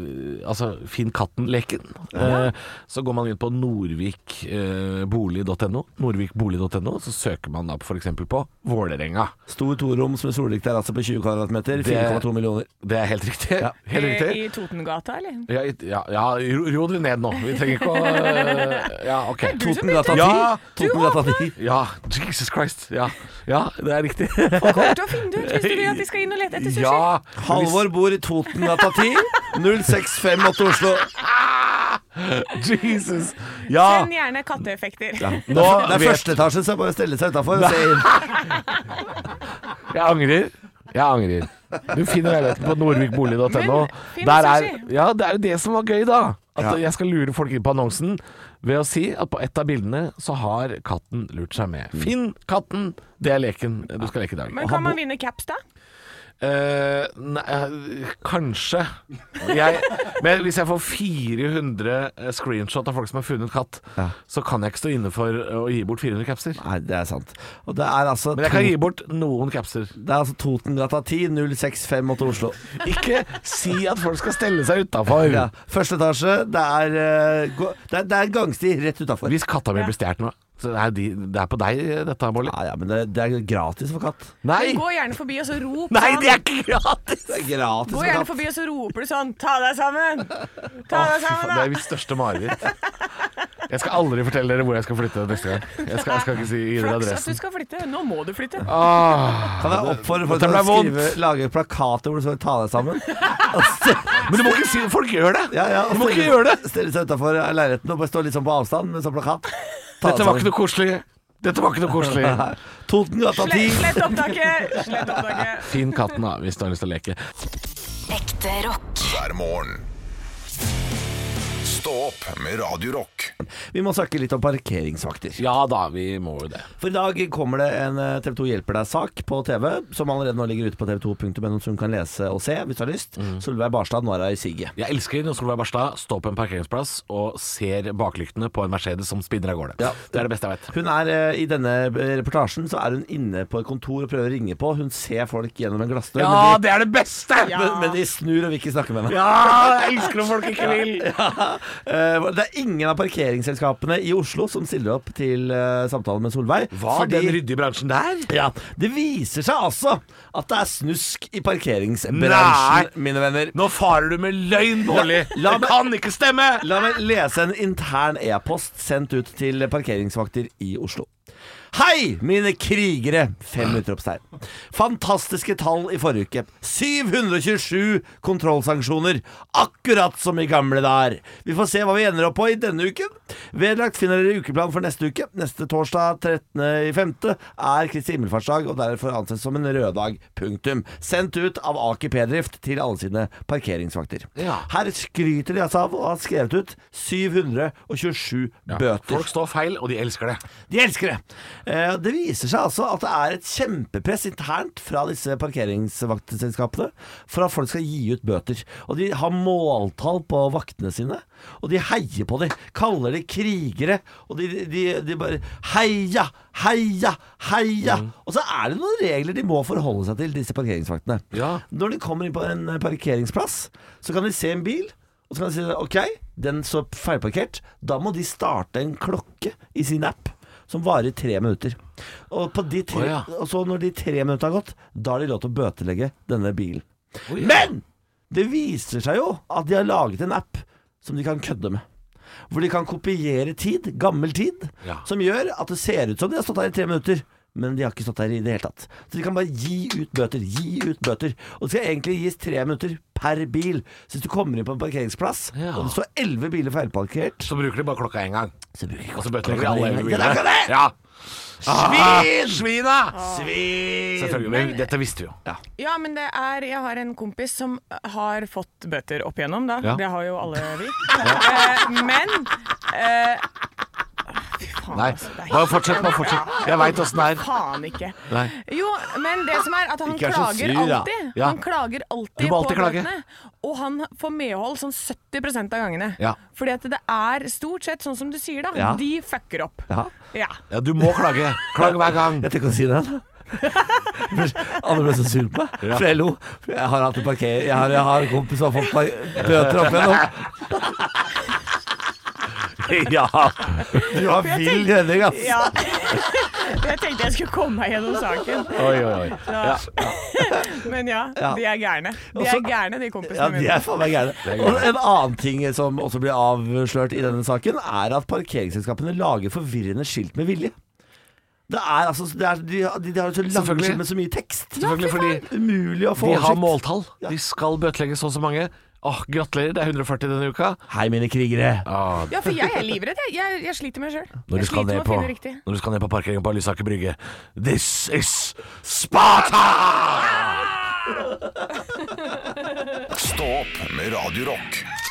[SPEAKER 5] altså Finn katten-leken, eh, så går man inn på eh, norvikbolig.no, norvikbolig.no, så søker man da f.eks. på Vålerenga.
[SPEAKER 3] Stor toroms med solrik-terrasse altså, på 20 kvadratmeter.
[SPEAKER 5] Det-
[SPEAKER 3] 4,2 millioner.
[SPEAKER 5] Det er helt riktig.
[SPEAKER 3] Ja.
[SPEAKER 5] Helt riktig.
[SPEAKER 10] Eh, I Totengata, eller?
[SPEAKER 5] Ja, i- ja, ja ro ro dere ned nå. Vi trenger ikke å eh, Ja, OK.
[SPEAKER 3] Totengata 10.
[SPEAKER 5] Ja,
[SPEAKER 3] Totengata 10.
[SPEAKER 5] ja, Jesus Christ. Ja, ja det er riktig.
[SPEAKER 10] Kommer til å finne det ut hvis du vil at de skal inn og lete etter sushi.
[SPEAKER 5] Ja,
[SPEAKER 3] Halvor bor i Totengata 10. 0658 Oslo.
[SPEAKER 5] Jesus. Ja.
[SPEAKER 10] Send gjerne katteeffekter.
[SPEAKER 3] Nå, det er
[SPEAKER 5] vet-
[SPEAKER 3] første etasje, så det er bare å stelle seg utafor og se inn.
[SPEAKER 5] Jeg angrer. Jeg angrer. Du finner leiligheten på norvikbolig.no.
[SPEAKER 10] Men, finn
[SPEAKER 5] Der er,
[SPEAKER 10] sushi.
[SPEAKER 5] ja, det er jo det som var gøy, da. At
[SPEAKER 3] Ja.
[SPEAKER 5] jeg skal lure folk inn på annonsen ved å si at på ett av bildene så har katten lurt seg med.
[SPEAKER 3] Mm.
[SPEAKER 5] Finn katten! Det er leken du skal leke i dag.
[SPEAKER 10] Men kan man vinne caps, da?
[SPEAKER 5] Eh, nei, eh, kanskje. Jeg, men hvis jeg får 400 screenshot av folk som har funnet katt,
[SPEAKER 3] Ja.
[SPEAKER 5] så kan jeg ikke stå inne for eh, å gi bort 400 capser.
[SPEAKER 3] Nei, det er sant. Og det er altså,
[SPEAKER 5] Men jeg kan
[SPEAKER 3] to-
[SPEAKER 5] gi bort noen capser.
[SPEAKER 3] det er altså Totengata 10. 0658 Oslo.
[SPEAKER 5] Ikke si at folk skal stelle seg utafor.
[SPEAKER 3] Ja. Første etasje. Det er, eh, gå- det er, det er gangsti rett utafor.
[SPEAKER 5] Hvis katta mi blir stjålet nå så det, er de, det er på deg, eh, dette, Molly.
[SPEAKER 3] Ja, ja, men det, det er gratis for katt.
[SPEAKER 5] Nei!
[SPEAKER 10] Gå gjerne forbi, og så rop
[SPEAKER 5] Nei,
[SPEAKER 10] sånn.
[SPEAKER 5] det er ikke gratis!
[SPEAKER 3] Det er gratis
[SPEAKER 10] Gå
[SPEAKER 3] for
[SPEAKER 10] gjerne
[SPEAKER 3] katt.
[SPEAKER 10] forbi, og så roper du sånn Ta deg sammen! Ta
[SPEAKER 5] Å,
[SPEAKER 10] deg
[SPEAKER 5] fy faen,
[SPEAKER 10] sammen,
[SPEAKER 5] det
[SPEAKER 10] da!
[SPEAKER 5] er mitt største mareritt. Jeg skal aldri fortelle dere hvor jeg skal flytte neste gang. Jeg skal, jeg skal ikke si gi dere
[SPEAKER 10] Flaks at du
[SPEAKER 5] adressen. Ah.
[SPEAKER 10] skal flytte. Nå må du flytte.
[SPEAKER 5] Åh.
[SPEAKER 3] Kan jeg oppfordre folk
[SPEAKER 5] Dette
[SPEAKER 3] til å
[SPEAKER 5] ble
[SPEAKER 3] skrive,
[SPEAKER 5] vondt.
[SPEAKER 3] lage plakater hvor det står 'ta deg sammen'?
[SPEAKER 5] Men du må ikke si det! Folk gjør det!
[SPEAKER 3] Ja, ja,
[SPEAKER 5] Du må ikke gjøre det!
[SPEAKER 3] Stille seg utafor leiligheten og bare stå litt sånn på avstand med sånn plakat. Ta
[SPEAKER 5] Dette var ikke noe koselig. Dette var ikke noe koselig.
[SPEAKER 3] Totengata
[SPEAKER 10] Sle-
[SPEAKER 3] 10.
[SPEAKER 10] Slett opptaket! Slett opptaket.
[SPEAKER 5] Finn katten, da, hvis du har lyst til å leke.
[SPEAKER 1] Ekte rock.
[SPEAKER 2] hver morgen. Stå opp med Radio Rock.
[SPEAKER 3] Vi må snakke litt om parkeringsvakter.
[SPEAKER 5] Ja da, vi må jo det.
[SPEAKER 3] For i dag kommer det en eh, TV 2 hjelper deg-sak på TV, som allerede nå ligger ute på tv2.no, som du kan lese og se hvis du har lyst. Solveig Barstad, nå er hun i siget.
[SPEAKER 5] Jeg elsker når Solveig Barstad står på en parkeringsplass og ser baklyktene på en Mercedes som spinner av gårde.
[SPEAKER 3] Ja.
[SPEAKER 5] Det er det beste jeg vet.
[SPEAKER 3] Hun er eh, I denne eh, reportasjen så er hun inne på et kontor og prøver å ringe på. Hun ser folk gjennom en glassdør, men,
[SPEAKER 5] det er det beste!
[SPEAKER 3] de, men, men de snur og vil ikke snakke med henne.
[SPEAKER 5] Ja, jeg elsker når folk ikke vil.
[SPEAKER 3] Eh, Det er ingen av parkeringsselskapene i Oslo som stiller opp til eh, samtale med Solveig.
[SPEAKER 5] Var
[SPEAKER 3] fordi-
[SPEAKER 5] den ryddige bransjen der?
[SPEAKER 3] Ja, Det viser seg altså at det er snusk i parkeringsbransjen, mine venner.
[SPEAKER 5] Nå farer du med løgn, Molly!
[SPEAKER 3] la
[SPEAKER 5] Det
[SPEAKER 3] meg-
[SPEAKER 5] kan ikke stemme!
[SPEAKER 3] La meg lese en intern e-post sendt ut til parkeringsvakter i Oslo. Hei, mine krigere! Fem utropstegn. Fantastiske tall i forrige uke. 727 kontrollsanksjoner. Akkurat som i gamle dager. Vi får se hva vi ender opp på i denne uken. Vedlagt finner dere ukeplan for neste uke. Neste torsdag 13.5. er Kristi himmelfartsdag, og derfor ansett som en røddag. Punktum. Sendt ut av Aker P-drift til alle sine parkeringsvakter.
[SPEAKER 5] Ja.
[SPEAKER 3] Her skryter de altså av å ha skrevet ut 727 bøter.
[SPEAKER 5] Folk står feil, og de elsker det.
[SPEAKER 3] De elsker det! Eh, Det viser seg altså at det er et kjempepress internt fra disse parkeringsvaktselskapene for at folk skal gi ut bøter. Og de har måltall på vaktene sine, og de heier på dem. Kaller de krigere. Og de, de, de bare Heia! Heia! Heia! Og så er det noen regler de må forholde seg til, disse parkeringsvaktene.
[SPEAKER 5] Ja.
[SPEAKER 3] Når de kommer inn på en eh, parkeringsplass, så kan de se en bil, og så kan de si OK, den står feilparkert. Da må de starte en klokke i sin app som varer tre minutter. Og, på de tre,
[SPEAKER 5] Å, ja.
[SPEAKER 3] og så når de tre minuttene har gått, da har de lov til å bøtelegge denne bilen.
[SPEAKER 5] Oi, ja.
[SPEAKER 3] Men det viser seg jo at de har laget en app som de kan kødde med. Hvor de kan kopiere tid, gammel tid,
[SPEAKER 5] Ja.
[SPEAKER 3] som gjør at det ser ut som de har stått her i tre minutter. men de har ikke stått der i det hele tatt. Så de kan bare gi ut bøter, gi ut bøter. Og det skal egentlig gis tre minutter per bil. Så hvis du kommer inn på en parkeringsplass,
[SPEAKER 5] Ja.
[SPEAKER 3] og det står elleve biler feilparkert
[SPEAKER 5] Så bruker de bare klokka én gang.
[SPEAKER 3] Så bruker de
[SPEAKER 5] Og så bøtelegger de
[SPEAKER 3] klokka
[SPEAKER 5] alle
[SPEAKER 3] én gang.
[SPEAKER 5] elleve
[SPEAKER 3] Ja, det er
[SPEAKER 5] bilene.
[SPEAKER 3] akkurat det!
[SPEAKER 5] Ja.
[SPEAKER 3] Svin!
[SPEAKER 5] Svina!
[SPEAKER 3] Svin!
[SPEAKER 5] Selvfølgelig. Men dette visste vi jo.
[SPEAKER 4] Ja, men det er Jeg har en kompis som har fått bøter opp igjennom, da.
[SPEAKER 5] Ja.
[SPEAKER 4] Det har jo alle vi. Eh, men eh, Fy faen,
[SPEAKER 5] Nei,
[SPEAKER 4] altså. det er
[SPEAKER 5] bare fortsett, bare fortsett. Jeg vet åssen det er.
[SPEAKER 4] Faen ikke.
[SPEAKER 5] Nei.
[SPEAKER 4] Jo, men det som er at han
[SPEAKER 5] Ikke er så
[SPEAKER 4] klager
[SPEAKER 5] sur, da.
[SPEAKER 4] alltid.
[SPEAKER 5] Ja.
[SPEAKER 4] Han klager alltid
[SPEAKER 5] Du må alltid
[SPEAKER 4] på
[SPEAKER 5] klage.
[SPEAKER 4] bøtene. Og han får medhold sånn 70 av gangene.
[SPEAKER 5] Ja.
[SPEAKER 4] Fordi at det er stort sett sånn som du sier, da.
[SPEAKER 3] Ja.
[SPEAKER 4] De fucker opp.
[SPEAKER 3] Ja.
[SPEAKER 4] Ja.
[SPEAKER 5] Ja, du må klage. Klag hver gang.
[SPEAKER 3] Jeg tenker å si det. da. Alle ble så sur på meg, for jeg lo. For Jeg har hatt en parker... Jeg har, jeg har en kompis som har fått par- bøter opp igjennom. Ja, du har vill redning, ass.
[SPEAKER 4] ja. Jeg tenkte jeg skulle komme meg gjennom saken.
[SPEAKER 5] Oi, oi, oi. Ja.
[SPEAKER 4] Men ja,
[SPEAKER 3] Ja.
[SPEAKER 4] de er gærne. De
[SPEAKER 3] Også-
[SPEAKER 4] er gærne, de kompisene
[SPEAKER 3] Ja, de
[SPEAKER 4] mine.
[SPEAKER 3] er faen meg gærne. Og en annen ting som også blir avslørt i denne saken, er at parkeringsselskapene lager forvirrende skilt med vilje. Det er altså det er, De, de, de har jo så lange
[SPEAKER 5] Selvfølgelig.
[SPEAKER 3] skilt med så mye tekst.
[SPEAKER 5] Selvfølgelig, fordi
[SPEAKER 3] Umulig å få
[SPEAKER 5] de har
[SPEAKER 3] oversikt.
[SPEAKER 5] måltall. De skal bøtelegge så og så mange. Åh, Gratulerer, det er 140 denne uka.
[SPEAKER 3] Hei, mine krigere.
[SPEAKER 5] Ah,
[SPEAKER 4] Ja, for jeg er livredd. Jeg, jeg, jeg sliter med det sjøl.
[SPEAKER 5] når, du
[SPEAKER 4] Jeg
[SPEAKER 5] skal
[SPEAKER 4] sliter
[SPEAKER 5] ned
[SPEAKER 4] med å
[SPEAKER 5] på,
[SPEAKER 4] finne riktig.
[SPEAKER 5] når du skal ned på parkeringen på Lysaker brygge This is Sparta!
[SPEAKER 2] Stå opp med Radio Rock.